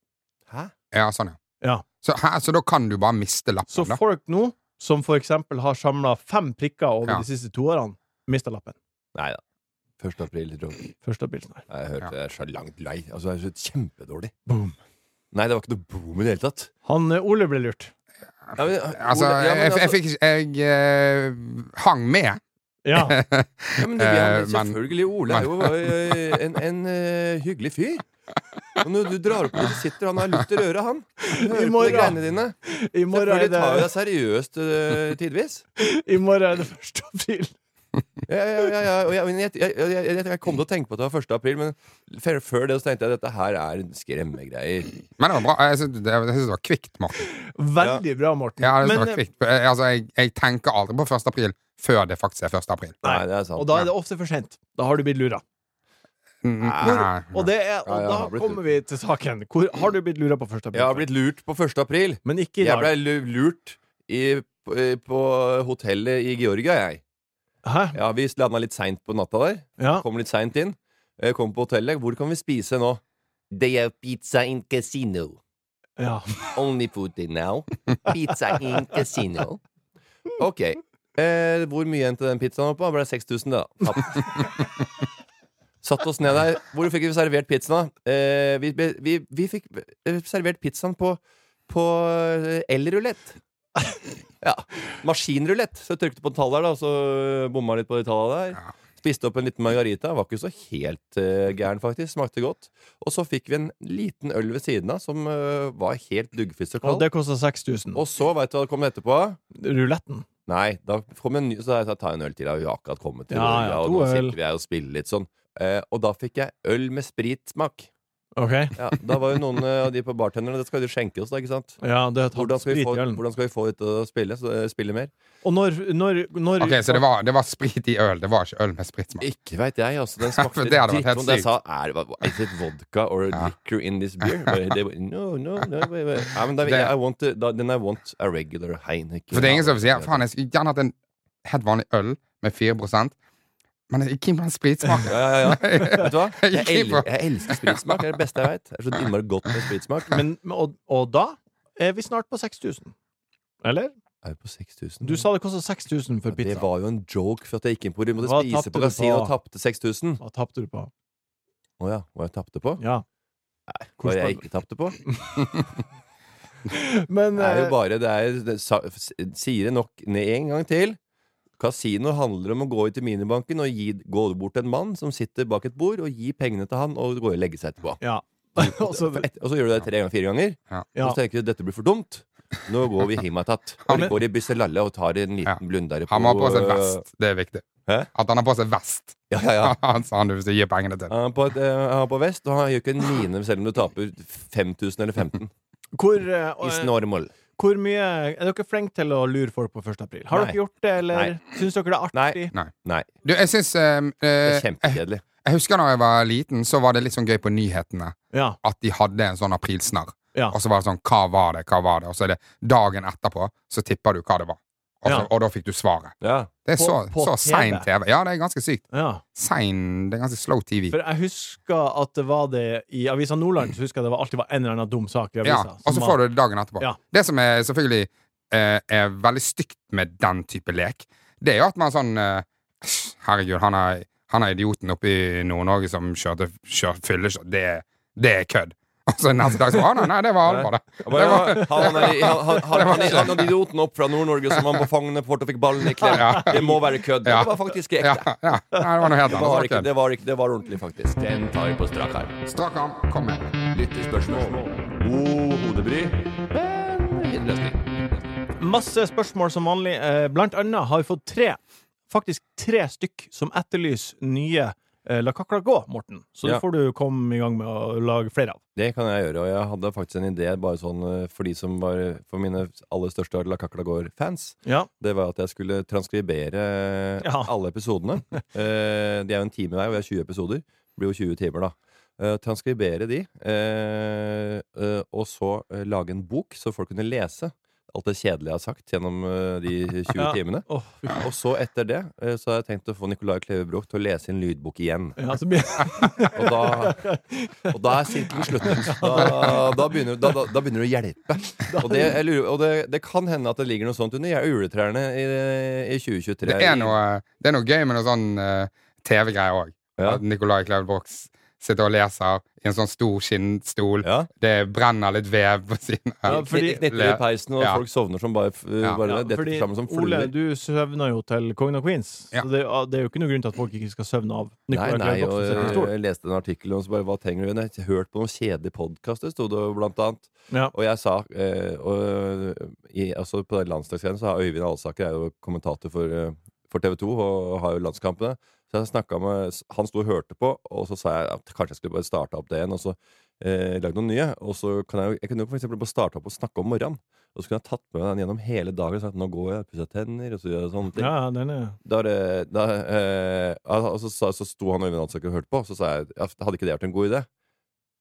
Hæ?
Ja, sånn, ja.
Ja.
Så, hæ, så da kan du bare miste
Så
lappen, da?
folk nå, som for eksempel har samla fem prikker over
Ja.
de siste to årene, Mista lappen.
Nei da. 1. april, tror jeg.
Første april snart.
Jeg hørte
Ja.
det er så langt lei. Altså, det er så kjempedårlig.
Boom.
Nei, det var ikke noe boom i det hele tatt.
Han eh, Ole ble lurt.
Ja, men,
Altså,
Ole- ja, men
jeg, jeg
altså-
fikk Jeg eh, hang med.
Ja.
Ja, men det blir han
Eh, men-
selvfølgelig. Ole er jo eh, en, en eh, hyggelig fyr. Og når du drar opp når du sitter, han har luft i røret, han. Du hører på de
morgen.
greiene dine.
I morgen er
Selvfølgelig tar jo
det,
deg seriøst eh, tidvis.
i morgen er det første april.
Ja, ja, ja, ja. Og jeg, men jeg, jeg, jeg, jeg, jeg kom til å tenke på at det var 1. april, men f- før det så tenkte jeg at dette her er skremmegreier.
Men det var bra. Jeg syns det, jeg synes det var kvikt, Morten.
Veldig bra, Morten.
Ja, jeg synes
Men,
det var kvikt. Eh, Altså, jeg, jeg tenker aldri på 1. april før det faktisk er 1. april.
Nei, det er
eh, og
sant.
da er det ofte for sent. Da har du blitt lura.
Mm,
Hvor- Og, det er,
Ja,
og
ja,
da
har blitt
kommer vi til saken. Hvor har du blitt lura på første april?
Jeg har blitt lurt på 1. april.
Men ikke i dag.
Jeg ble lu- lurt i, på, på hotellet i Georgia, jeg.
Hæ?
Ja, Vi landa litt seint på natta der.
Ja.
Kom litt seint inn. Eh, Kom på hotellet. Hvor kan vi spise nå? They have pizza in casino.
ja.
Only food in now. Pizza in casino. Ok. Eh, hvor mye endte den pizzaen opp på? Det ble 6000, det, da. Tapt. Satt oss ned der. Hvor fikk vi servert pizzaen? da? Eh, vi, be- vi, vi fikk eh, servert pizzaen på, på eh, elrulett. Ja. Maskinrulett. Så jeg trykte på en tall der, da, og så bomma litt på de tallene der. Spiste opp en liten margarita. Var ikke så helt eh, gæren, faktisk. Smakte godt. Og så fikk vi en liten øl ved siden av som eh, var helt duggfist og
Og
kald.
det kosta 6000.
Og så, veit du hva det kom etterpå?
Ruletten.
Nei, da kom en ny Så jeg sa, ta en øl til, da. Vi har akkurat kommet til
Ja,
Norge,
ja,
og
to
nå
øl.
sitter vi her og spiller litt sånn. Eh, og da fikk jeg øl med spritsmak.
Ok.
Ja, da var jo noen eh, av de på bartenderne Det skal jo skjenke oss, da, ikke sant?
Ja, det har
Hvordan
tatt
skal vi
sprit
få,
i ølen.
hvordan skal vi få ut å spille, så, eh, spille mer?
Og når, når, når
Ok, Så det var, det var sprit i øl. Det var ikke øl med spritsmak.
Ikke veit jeg, altså. Den
For
smakte
det hadde vært helt
drittvondt. Jeg sa er, det- Is it vodka or
Ja.
liquor in this beer? Bare, det, var, no, no, no wait, wait. Ja, men da,
Det-
I want, the- da, Then I want a regular Heineken.
For det er ingen som sier faen, jeg skulle gjerne hatt en helt vanlig øl med 4 men jeg er keen på den spritsmaken.
Ja, ja, ja. Vet du hva? Jeg,
Ikke
el
på-
jeg elsker spritsmak. Det er det beste jeg veit. Det er så innmari godt med spritsmak.
men, og, og da er vi snart på 6000. Eller?
Er vi på 6000?
Du sa det kosta 6000 for
Ja,
pizza.
Det var jo en joke for at jeg gikk inn på de måtte
Hva
spise
tapte
på
du
kasino
på?
og tapte 6000.
Hva tapte du på?
Å ja. Hva jeg tapte på?
Ja.
Hva
hvordan-
jeg ikke tapte på?
Men
Det er jo
eh,
bare det er, det, sa- s- Sier det nok ned en gang til. Kasino handler om å gå ut i minibanken og gi, gå bort til en mann som sitter bak et bord, og gi pengene til han og gå og legge seg etterpå.
eh, Ja. Og så-
For et, og så gjør du det tre ganger, fire ganger.
ja.
Og så tenker du dette blir for dumt. Nå går vi hjem tatt.
Ja,
Og
men-
går i Bysselalle og tar en
Ja.
liten blundere på eh,
Han må ha på seg vest. Det er viktig.
Hæ?
At han har på seg vest,
Ja, ja, ja.
han sa han hvis du gir pengene til.
Han er på, et, eh, han er på vest, og han gjør ikke en mine selv om du taper 5000 eller 15.
hvor, eh, og,
Is
eh,
normal.
hvor mye Er dere flinke til å lure folk på 1. april? Har
Nei.
dere gjort det, eller
Nei.
syns dere det er artig?
Nei.
Nei,
Du, jeg syns ehm,
det
eh,
er
jeg,
kjempekjedelig.
jeg husker da jeg var liten, så var det litt sånn gøy på nyhetene
Ja.
at de hadde en sånn aprilsnarr.
ja.
Og så var det sånn Hva var det? Hva var det? Og så er det dagen etterpå, så tipper du hva det var. Og, så,
Ja.
og da fikk du svaret.
Ja.
Det er
På-
så,
på
så
TV.
sein TV. Ja, det er ganske sykt.
ja.
Sein Det er ganske slow TV.
For jeg husker at det var det i Avisa Nordland. Så husker jeg det var alltid var en eller annen dum sak i avisa.
Ja, og
altså,
som
så
var-
får du det dagen etterpå.
Ja.
Det som er selvfølgelig eh, er veldig stygt med den type lek, det er jo at man er sånn eh, «Æsj, Herregud, han er, han er idioten oppe i Nord-Norge som kjørte kjør, fyllekjørt. Det, er- det er kødd. Og så neste dag så Å nei, nei, det var alvor, det.
Han, han, han, er- han,
Det
han, han,
var-
han, han hadde idioten opp fra Nord-Norge som han på fanget fort og fikk ballen i klem.
Ja.
Det må være kødd.
Ja.
Det var faktisk
Ja,
ekte.
ja. Nei, det var noe helt
Det
annet. Det
var,
var
ikke,
kødd.
det, var ikke, det var ordentlig, faktisk. Den tar vi på strak arm.
Strak arm, kom med.
Lyttespørsmål. God hodebry, men ingen løsning.
Masse spørsmål som vanlig. Eh, Blant annet har vi fått tre, faktisk tre stykk, som etterlyser nye eh, La kakla gå, Morten. Så det
Ja.
får du komme i gang med å lage flere av.
Det kan jeg gjøre, og jeg hadde faktisk en idé bare sånn eh, for de som var for mine aller største La Cacla Går-fans.
Ja.
Det var at jeg skulle transkribere eh,
Ja.
alle episodene. Eh, De er jo en time hver, og jeg har 20 episoder. Det blir jo 20 timer, da. Eh, Transkribere de, eh, eh, og så eh, lage en bok så folk kunne lese. alt det kjedelige jeg har sagt gjennom eh, de 20
Ja.
timene.
Åh, fy faen.
Og så etter det eh, så har jeg tenkt å få Nicolai Klevebrok til å lese inn lydbok igjen.
Ja, så blir-
Og da, og da er sirkelen sluttet. Da, da, begynner, da, da, da begynner det å hjelpe. Og, det, jeg lurer, og det, det kan hende at det ligger noe sånt under juletrærne i, i 2023.
Det er noe, det er noe gøy med noe sånn eh, TV-greier òg.
Ja.
At Nicolai Kleverbrox sitter og leser i en sånn stor skinnstol.
Ja.
Det brenner litt vev på siden.
Ja,
av-
fordi-
Kni- Knitter i peisen, og
Ja.
folk sovner som bare, f-
Ja.
bare
Ja,
detter
fordi,
sammen som
Ole,
fluer.
du søvner jo til Kongen og Queens.
Ja.
Så det, det er jo ikke noen grunn til at folk ikke skal søvne av
Nei,
Nicolai
nei, og
Kleivboksen sin
eh,
pistol.
jeg leste en artikkel om så bare, hva trenger du? Jeg har hørt på noen kjedelige podkaster, sto det jo blant annet.
Ja.
Og jeg sa eh, og, i, altså På den landslagsgreien så har Øyvind Alsaker er jo kommentator for, eh, for TV 2 og har jo landskampene. Så jeg snakket med, Han sto og hørte på, og så sa jeg at kanskje jeg skulle bare starte opp det igjen. Og så eh, lagd noen nye. Og så kan jeg, jo- jeg kunne jo for eksempel bare starte opp og snakke om morgenen. Og så kunne jeg tatt med den gjennom hele dagen og sagt nå går jeg og pusser tenner. og så gjør jeg sånne ting.
Ja, den er
Da, var det- da, eh, al- altså, så, så sto han og Øyvind Alsaker og hørte på, og så sa jeg at hadde ikke det vært en god idé?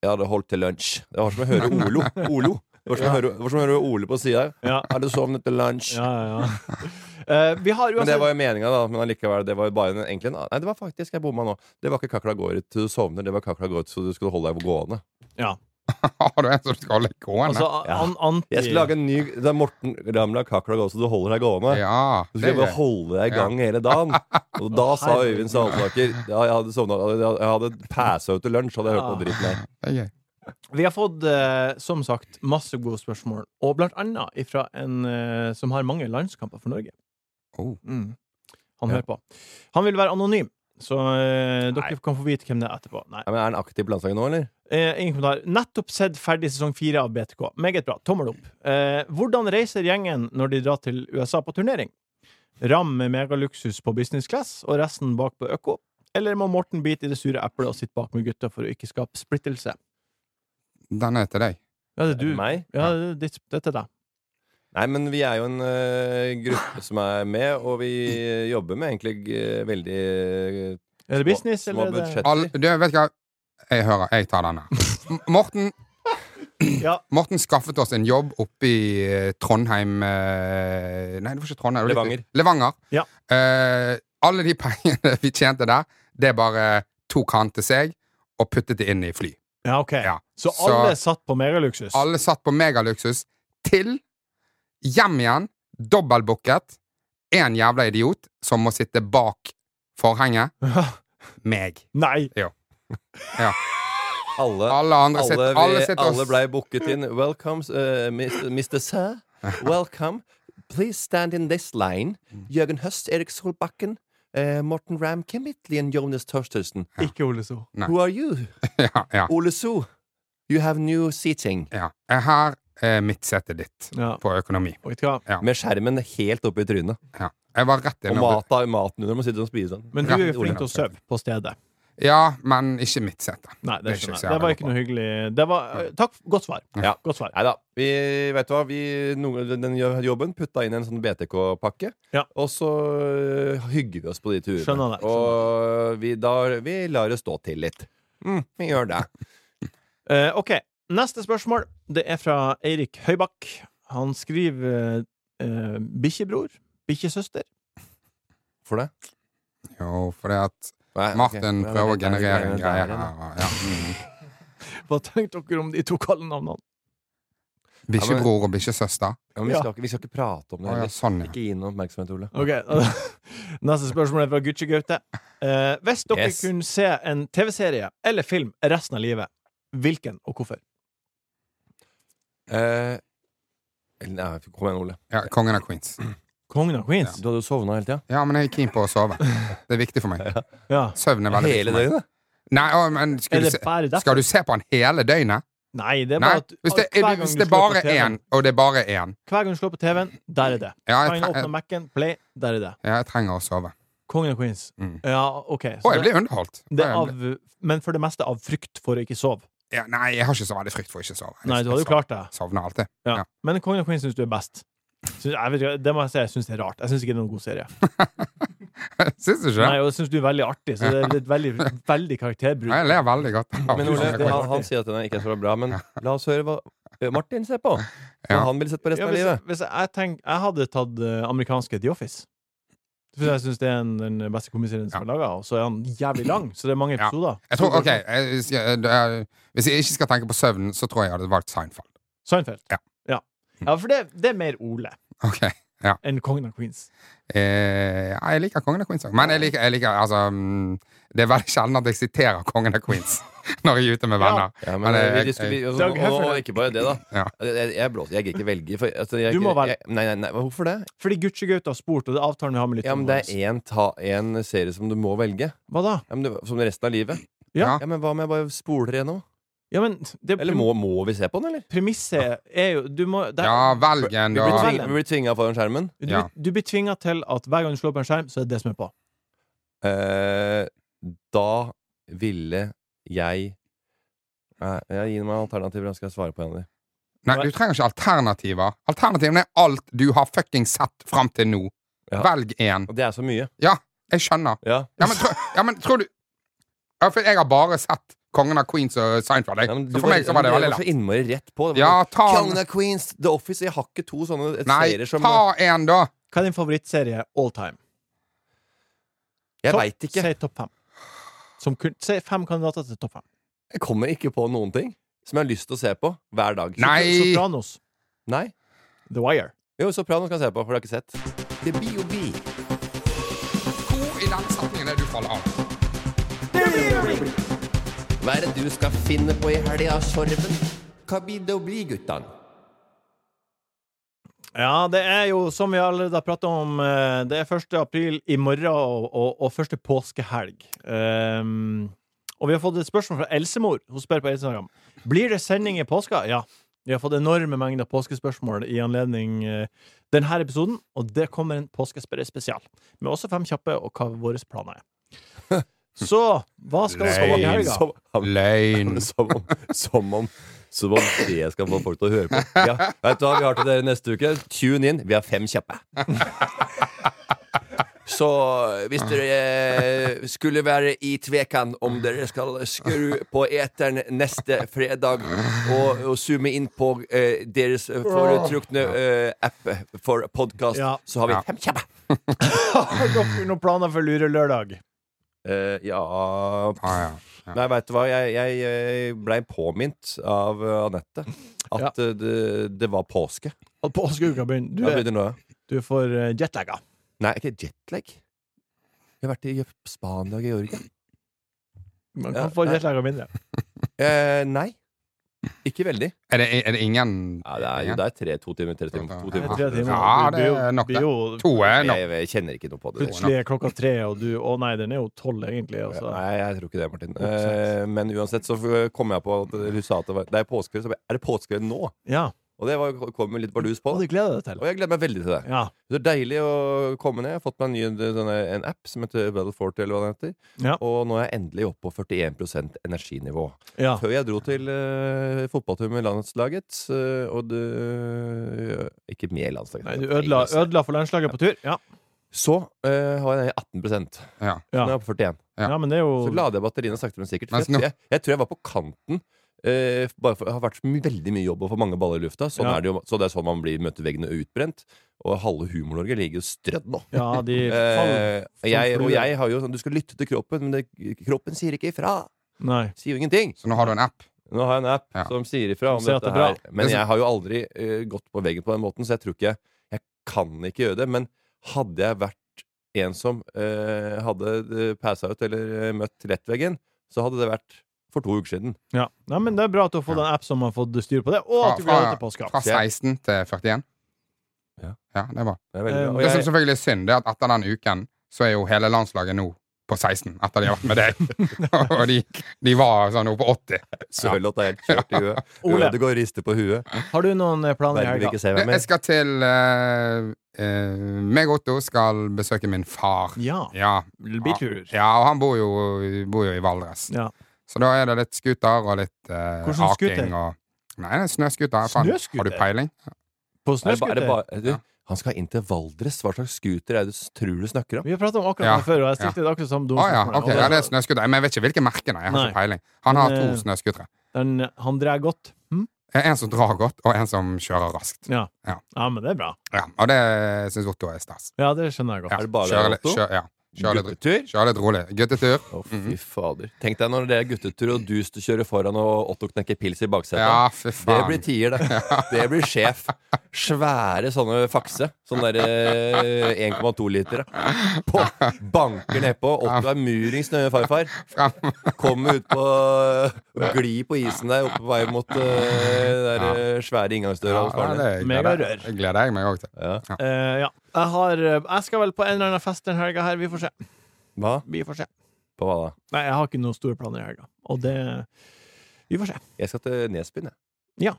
Jeg hadde holdt til lunsj. Det var som å høre Olo. Olo. Det var som å høre, det var som å høre Ole på sida her.
Ja,
Hadde sovnet til lunsj.
ja, ja. Eh, vi har
Men det
uansett
var jo meninga, da. Men allikevel, det var jo bare en, egentlig en Nei, det var faktisk jeg bomma nå. Det var ikke kakla går ut til du sovner, det var kakla går ut så du skulle holde deg gående.
ja.
Har du en som skal holde gående?
Altså, an-
Ja.
an anti
Jeg skulle lage en ny Det er Morten Ramla kakla går ut så du holder deg gående.
ja,
Du
det
skal
er
bare
gøy.
holde deg i gang hele dagen. Og da sa Øyvind Salsaker Ja, jeg hadde sovna Jeg hadde passa ut til lunsj, hadde jeg hørt på dritten der.
Det er gøy.
Vi har fått, eh, som sagt, masse gode spørsmål, og blant annet fra en eh, som har mange landskamper for Norge.
Oh.
Mm. Han
Ja.
hører på. Han vil være anonym, så eh, dere kan få vite hvem det er etterpå. Nei.
Ja, men Er han aktiv på landslaget nå, eller?
Eh, ingen kommentar. Nettopp sett ferdig sesong fire av BTK. Meget bra. Tommel opp. Eh, hvordan reiser gjengen når de drar til USA på turnering? Ram med megaluksus på business class og resten bak på øko? Eller må Morten bite i det sure eplet og sitte bak med gutta for å ikke skape splittelse?
Den er til deg.
Ja, det er du.
Meg?
Ja, det er ditt- det er til deg.
Nei, men vi er jo en eh, gruppe som er med, og vi jobber med egentlig eh, veldig eh,
Er det business,
små
eller er det
budsjetter.
Al- du, vet ikke hva Jeg hører, jeg tar denne. M- Morten,
Ja.
Morten skaffet oss en jobb oppe i eh, Trondheim eh, Nei, det var ikke Trondheim. det var litt- Levanger.
Ja.
Eh, alle de pengene vi tjente der, det bare tok han til seg og puttet det inn i fly.
Ja, ok.
Ja.
Så
Så-
alle satt på megaluksus?
Alle satt på megaluksus til hjem igjen, dobbeltbooket, én jævla idiot som må sitte bak forhenget. Meg.
Nei!
Alle,
Alle andre
alle,
sitter,
vi,
alle
alle,
sitter og s-
ble booket inn. Welcome, eh, Mr. Mr. Sir. Welcome. Please stand in this line. Jørgen Høst, Erik Solbakken, eh, Morten Ramm, Kim Itlien, Jonas Torstensen.
Ikke Ole So.
Nei.
Who are you?
ja, ja.
Ole So. You have new seating.
Ja. Eh, Her er mitt sete ditt
Ja.
på økonomi.
Og vet du hva?
Med skjermen helt oppe i trynet.
Ja. Jeg var rett
Og
innom
mata, maten under må sitte og sånn. spise den.
Men du er jo
Ole.
flink til å sove på stedet.
Ja, men ikke mitt sete.
Nei, det,
Det er ikke
skjønner
så
jeg. Det var
jævlig
ikke noe hyggelig det var, Takk. Godt svar.
Ja.
Godt svar.
Nei da. Vi, vet du hva? Vi, noen- den jobben putta inn en sånn BTK-pakke,
Ja.
og så øh, hygger vi oss på de turene.
Skjønner det, skjønner
Og vi, da, vi lar det stå til litt. Mm, vi gjør det.
Eh, ok, neste spørsmål. Det er fra Eirik Høybakk. Han skriver uh, bikkjebror, bikkjesøster.
For det?
Jo, fordi at
Nei, ok.
Martin
Nei,
prøver å
det er-
generere en
det er-
greie
det er-
her. og- Ja. Mm.
Hva tenkte dere om de to kallenavnene?
Bikkjebror og bikkjesøster.
Ja, men vi, skal ikke, vi skal ikke prate om
Å
det.
ja,
heller.
sånn, ja.
Ikke gi noen oppmerksomhet, Ole.
Ok, Neste spørsmål er fra Gucci Gaute. Eh, hvis dere
Yes.
kunne se en TV-serie eller film resten av livet, hvilken og hvorfor?
Eh, eller nei, kom igjen, Ole.
ja. Kongen av Queens.
Kongen av Queens?
Du hadde jo sovna hele tida.
Ja, men jeg er keen på å sove. Det er viktig for meg.
Ja.
Søvn er veldig
Hele
viktig for meg.
døgnet?
Nei, å, men
Er
skal du,
det
se,
bare derfor?
skal du se på han hele døgnet?
Nei, det er
Nei.
bare at
Hvis det,
hver gang
hvis
du
det
slår på
bare er
TV-en-
én, og det er bare én
Hver gang du slår på TV-en, der er det.
ja,
Kan
jeg,
jeg
tre-
åpne Mac-en, play, der er det.
ja, jeg trenger å sove.
Kongen av Queens.
Mm.
Ja, OK. Så
Å, jeg
det-
blir underholdt.
Det er
Ja, jeg
av, men for det meste av frykt for å ikke sove.
blir- ja, nei, jeg har ikke så veldig frykt for å ikke sove. Jeg-
Nei, du hadde jo
jeg sov-
klart det.
Sovner alltid.
Ja.
Ja.
Men Kongen og Queen syns du er best. Syns- jeg vet, ikke, det må jeg si, jeg syns det er rart. Jeg syns ikke det er noen god serie.
Syns du ikke?
Nei, og jeg syns du er veldig artig, så det er litt veldig, veldig
Ja,
karakterbruk.
Jeg ler veldig godt.
Men Ole, han, han sier at den er ikke så bra, men la oss høre hva eh, Martin ser på.
Ja.
Hva han ville sett på resten
Ja,
av
hvis,
livet.
hvis jeg, jeg, tenk, jeg hadde tatt eh, amerikanske The Office. For jeg syns det er en, den beste komiserien som er laga, og så er han jævlig lang. Så det er mange
Ja.
episoder.
Jeg tror, ok, jeg, hvis jeg- det er- Hvis jeg ikke skal tenke på søvnen, så tror jeg jeg hadde valgt Seinfeld.
Seinfeld.
Ja.
ja. Ja, for det, det er mer Ole
Ok, ja
enn Kongen av Queens.
Eh, ja, jeg liker Kongen av Queens òg. Men jeg liker, jeg liker altså, mm, det er veldig sjelden at jeg siterer Kongen av Queens når jeg er ute med venner.
Ja, men,
Men, eh,
vi,
jeg-
skulle, vi,
jeg-
og,
Doug
og, og,
Heffernan.
ikke bare det, da.
Ja.
Jeg, jeg, jeg, blåser, jeg gidder ikke velge. For, altså, jeg,
Du må velge.
Jeg, nei, nei, nei, hvorfor det?
Fordi Gucci-Gaute har spurt, og det er avtalen vi har med litt
Ja, men Det er én ta- én serie som du må velge.
Hva da?
Ja, men du, som resten av livet.
Ja.
ja, Men hva om jeg bare spoler igjennom?
Ja, men det,
Eller må, må vi se på den, eller?
premisset er jo Du må det,
Ja, velg en,
Vi
da.
blir,
Ja.
tving, vi blir tvinga foran skjermen.
du,
ja.
du blir tvinga til at hver gang du slår på en skjerm, så er det det som er på.
Eh, da ville jeg Nei, jeg Gi meg alternativer, da skal jeg svare på en av dem.
Nei, du trenger ikke alternativer. Alternativene er alt du har fucking sett fram til nå.
Ja.
Velg en.
Og det er så mye.
Ja, jeg skjønner.
Ja.
Ja, men, tro, ja, men tror du ja, For jeg har bare sett Kongen av Queens og Seinfeld. Jeg.
Ja, men du
Så for meg så var det
men
veldig
var så
lett.
innmari rett på. Det var-
Ja, ta
Kongen
en.
av Queens, The Office Jeg har ikke to sånne
Nei,
serier som
ta en, da.
Hva er din favorittserie all time?
Jeg
Topp-
veit ikke.
Si topp fem. Som kun, si fem kandidater til topp fem.
Jeg kommer ikke på noen ting som jeg har lyst til å se på hver dag.
Nei.
Sopranos.
Nei.
The Wire.
Jo, Sopranos kan jeg se på, for det har jeg ikke sett. Det blir jo bi.
Hvor i den setningen er det du faller av?
Hva er det du skal finne på i helga, Sorven? Hva blir det å bli, guttan?
Ja, det er jo, som vi allerede har prata om, eh, det er 1. april i morgen og, og, og første påskehelg. Ehm, og vi har fått et spørsmål fra Elsemor. Hun spør på Instagram Blir det sending i påska. Ja. Vi har fått enorme mengder påskespørsmål i anledning eh, denne episoden, og det kommer en påskespesial. Med også fem kjappe og hva våre planer er. Så hva skal vi
Lame.
gjøre i helga?
Som,
Løgn.
som, om, som, om, som om det skal få folk til å høre på. Ja, vet du hva vi har til dere neste uke? Tune in. Vi har fem kjappe. Så hvis dere eh, skulle være i tvekan om dere skal skru på eteren neste fredag og, og zoome inn på eh, deres foretrukne eh, app for podkast,
Ja.
så har vi fem kjappe.
Har dere noen planer for lurelørdag?
Eh, ja
Ah, ja.
Nei, veit du hva, jeg, jeg, jeg blei påminnet av eh, Anette at eh, det, det var påske.
Og påskeuka begynner. Du
Da
er,
begynner nå, ja.
du er for eh, jetlagga.
Nei, ikke jetlag. Jeg har vært i Spania og Georgia.
Man
Ja,
kan få
nei.
jetlagga mindre.
Eh, nei. Ikke veldig.
Er, det, er det ingen
Ja, det er, jo, det er tre, to timer, tre timer, to
Det er
timer.
tre timer.
Ja,
Du
det
blir jo-
er nok,
blir
det.
jo-
To er nok.
Jeg, jeg kjenner ikke noe på det.
Plutselig altså. er klokka tre, og du Å nei, den er jo tolv, egentlig. Og så.
Nei, jeg tror ikke det, Martin. Eh, men uansett så f- kom jeg på at hun sa at det, var, det er påskeferie. Så jeg bare, er det påskeferie nå?
Ja.
Og det var, kom jo litt bardus på.
Og du gleder deg til.
Og jeg gleder meg veldig til det.
Ja.
Det er deilig å komme ned. Jeg har fått meg en, ny, denne, en app som heter Battle Forte, eller hva den heter.
Ja.
Og nå er jeg endelig oppe på 41 energinivå.
ja.
Før jeg dro til uh, fotballtur med landslaget, eh, og det Ikke med landslaget.
Nei, du ødela,
altså.
ødela for landslaget på tur. Ja.
Så eh, har jeg 18
Ja.
Ja.
Nå er jeg på 41.
Ja.
ja, men det er
Så
jo
lader jeg batteriene sakte, men sikkert. For
Mens
jeg,
nå-
jeg, jeg tror jeg var på kanten. eh, bare for, det har vært så my veldig mye jobb å få mange baller i lufta. Sånn
Ja.
er det jo, så det er sånn man blir møter veggen og utbrent. Og halve Humor-Norge ligger jo strødd nå.
Ja, de faller.
Eh, jeg,
Folk
og
blir-
jeg har jo sånn Du skal lytte til kroppen, men det, kroppen sier ikke ifra.
Nei.
Sier jo ingenting.
Så nå har du en app?
Nå har jeg en app
Ja.
som sier ifra om
Som sier at
dette
det er
her. Men jeg har jo aldri eh, gått på veggen på den måten, så jeg tror ikke Jeg kan ikke gjøre det. Men hadde jeg vært en som eh, hadde uh, passa ut eller eh, møtt lettveggen, så hadde det vært for to uker siden.
Ja. Nei, men det er bra at du har fått en app som har fått styr på det, og
Fra,
at du
fra,
gleder deg til påska.
fra 16 til 41?
Ja.
Ja, det er bra.
Det er veldig
Eh,
bra.
Det
Og
som
jeg,
selvfølgelig er synd, det er at etter den uken så er jo hele landslaget nå på 16, etter de har vært med deg. og de, de var sånn oppe på 80.
selvfølgelig at det er helt kjørt i huet.
Ole.
Ødegaard rister på huet.
Har du noen eh, planer i
Verden vil
helga?
ikke se
Det-
meg
Jeg
mer.
skal til eh, eh, Meg og Otto skal besøke min far.
Ja.
Ja.
Bilturer.
ja, og han bor jo, bor jo i Valdres.
Ja.
Så da er det litt skuter og litt eh,
Hvordan
aking
scooter?
og Nei, det er snøskuter. Faen,
Snøskuter?
Har du peiling?
På
Er det ba- er det
snøscooter.
ba- du, han skal inn til Valdres. Hva slags scooter er det du s- tror du snakker om?
Vi har pratet om akkurat
Ja.
det før, og jeg stilte det akkurat samme
Å
dumme
ja,
spørsmålet.
ok.
Og
Ja, det
da-
er snøskuter. Men jeg vet ikke hvilke merker, nei. Jeg har
Nei.
ikke peiling. Han har
Men,
to
eh,
snøskutere.
den, Han drar godt. Hm?
Eh, En som drar godt, og en som kjører raskt.
Ja.
Ja.
ja, men det er bra.
Ja, og det syns Otto er stas.
Ja, det skjønner jeg godt.
Ja,
Er det bare
kjører litt-
Otto?
Kjør, Mm-hmm. ja. Kjører litt,
Guttetur?
kjører litt rolig. Guttetur.
Å, fy fader. Tenk deg når det er guttetur, og du kjører foran, og Otto knekker pils i baksetet.
Ja, fy
Det
faen.
blir tier, det. Det blir sjef. Svære sånne fakse. Sånn eh, Sånne derre 1,2 liter. På, banker nedpå. Otto er murings nøye farfar.
Frem.
Kommer ut på Gli på isen der oppe på vei mot eh, der eh, svære inngangsdøra hos
Ja,
faren din.
det
Megarør.
gleder jeg- gleder jeg meg òg til.
Ja.
Eh, ja. Jeg, har, eh, jeg skal vel på en eller annen fest den helga her. Vi får se.
Hva?
Vi får se.
På hva da?
Nei, jeg har ikke noen store planer i helga. Og det Vi får se.
Jeg skal til Nesbyen, jeg.
Ja,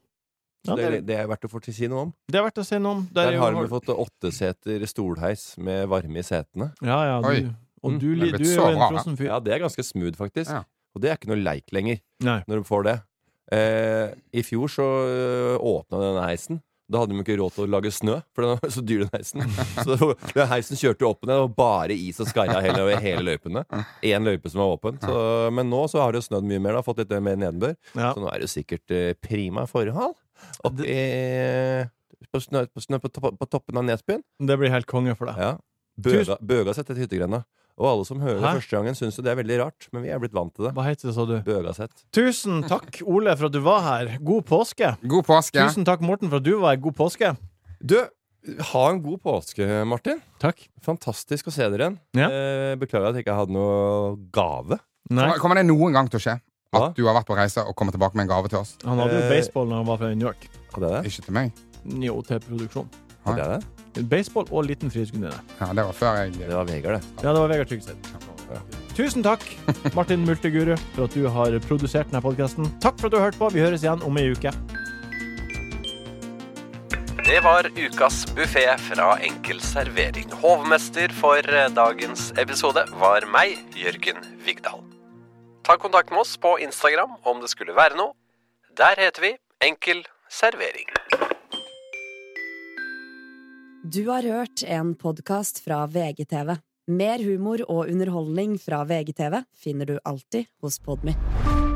det,
det,
det er verdt å få til si noe om.
det er verdt å si noe om. Der er
Der
jo-
har de fått åtteseter stolheis med varme i setene.
Ja, ja,
Oi.
du, og
Mm,
du,
det er
li- du
blitt
er
så
jo en
bra,
frossen fyr.
Ja, det er ganske smooth, faktisk.
Ja.
Og det er ikke noe leik lenger,
Nei.
når de får det. Eh, I fjor så øh, åpna denne heisen. Da hadde de ikke råd til å lage snø, for den var så dyr, den heisen. Så det var- den heisen kjørte jo opp og ned, og bare is og skarra hele, hele løypene. Én løype som var åpen. Så, men nå så har det jo snødd mye mer, da, fått litt eh, mer nedbør.
Ja.
Så nå er det jo sikkert eh, prima forhold opp i på snø, på, snø på, topp- på toppen av Nesbyen.
Det blir helt konge for deg.
Ja. Bøga, bøga seg til hyttegrenda. Og alle som hører det
Hæ?
første gangen, syns jo det er veldig rart, men vi er blitt vant til det.
Hva heter det, sa du?
Bøgasett.
Tusen takk, Ole, for at du var her. God påske.
God påske.
Tusen takk, Morten, for at du var her. God påske.
Du, ha en god påske, Martin.
Takk.
Fantastisk å se dere igjen.
Ja.
Eh, beklager at jeg ikke hadde noe gave.
Nei,
Kommer- Kommer det noen gang til å skje at
Hva?
du har vært på reise og kommer tilbake med en gave til oss?
han hadde jo
Eh.
baseball når han var fra New York.
Hadde jeg det?
Ikke til meg.
Jo, til produksjon.
Hadde jeg det?
Baseball og liten frihetsgudinne.
Ja, det var før jeg
det var Vegard, det.
Ja, det var Vegard Tryggset. Tusen takk, Martin Multeguru, for at du har produsert denne podkasten. Takk for at du har hørt på. Vi høres igjen om ei uke.
Det var ukas buffé fra Enkel servering. Hovmester for eh, dagens episode var meg, Jørgen Vigdal. Ta kontakt med oss på Instagram om det skulle være noe. Der heter vi Enkel servering.
Du har hørt en podkast fra VGTV. Mer humor og underholdning fra VGTV finner du alltid hos Podmy.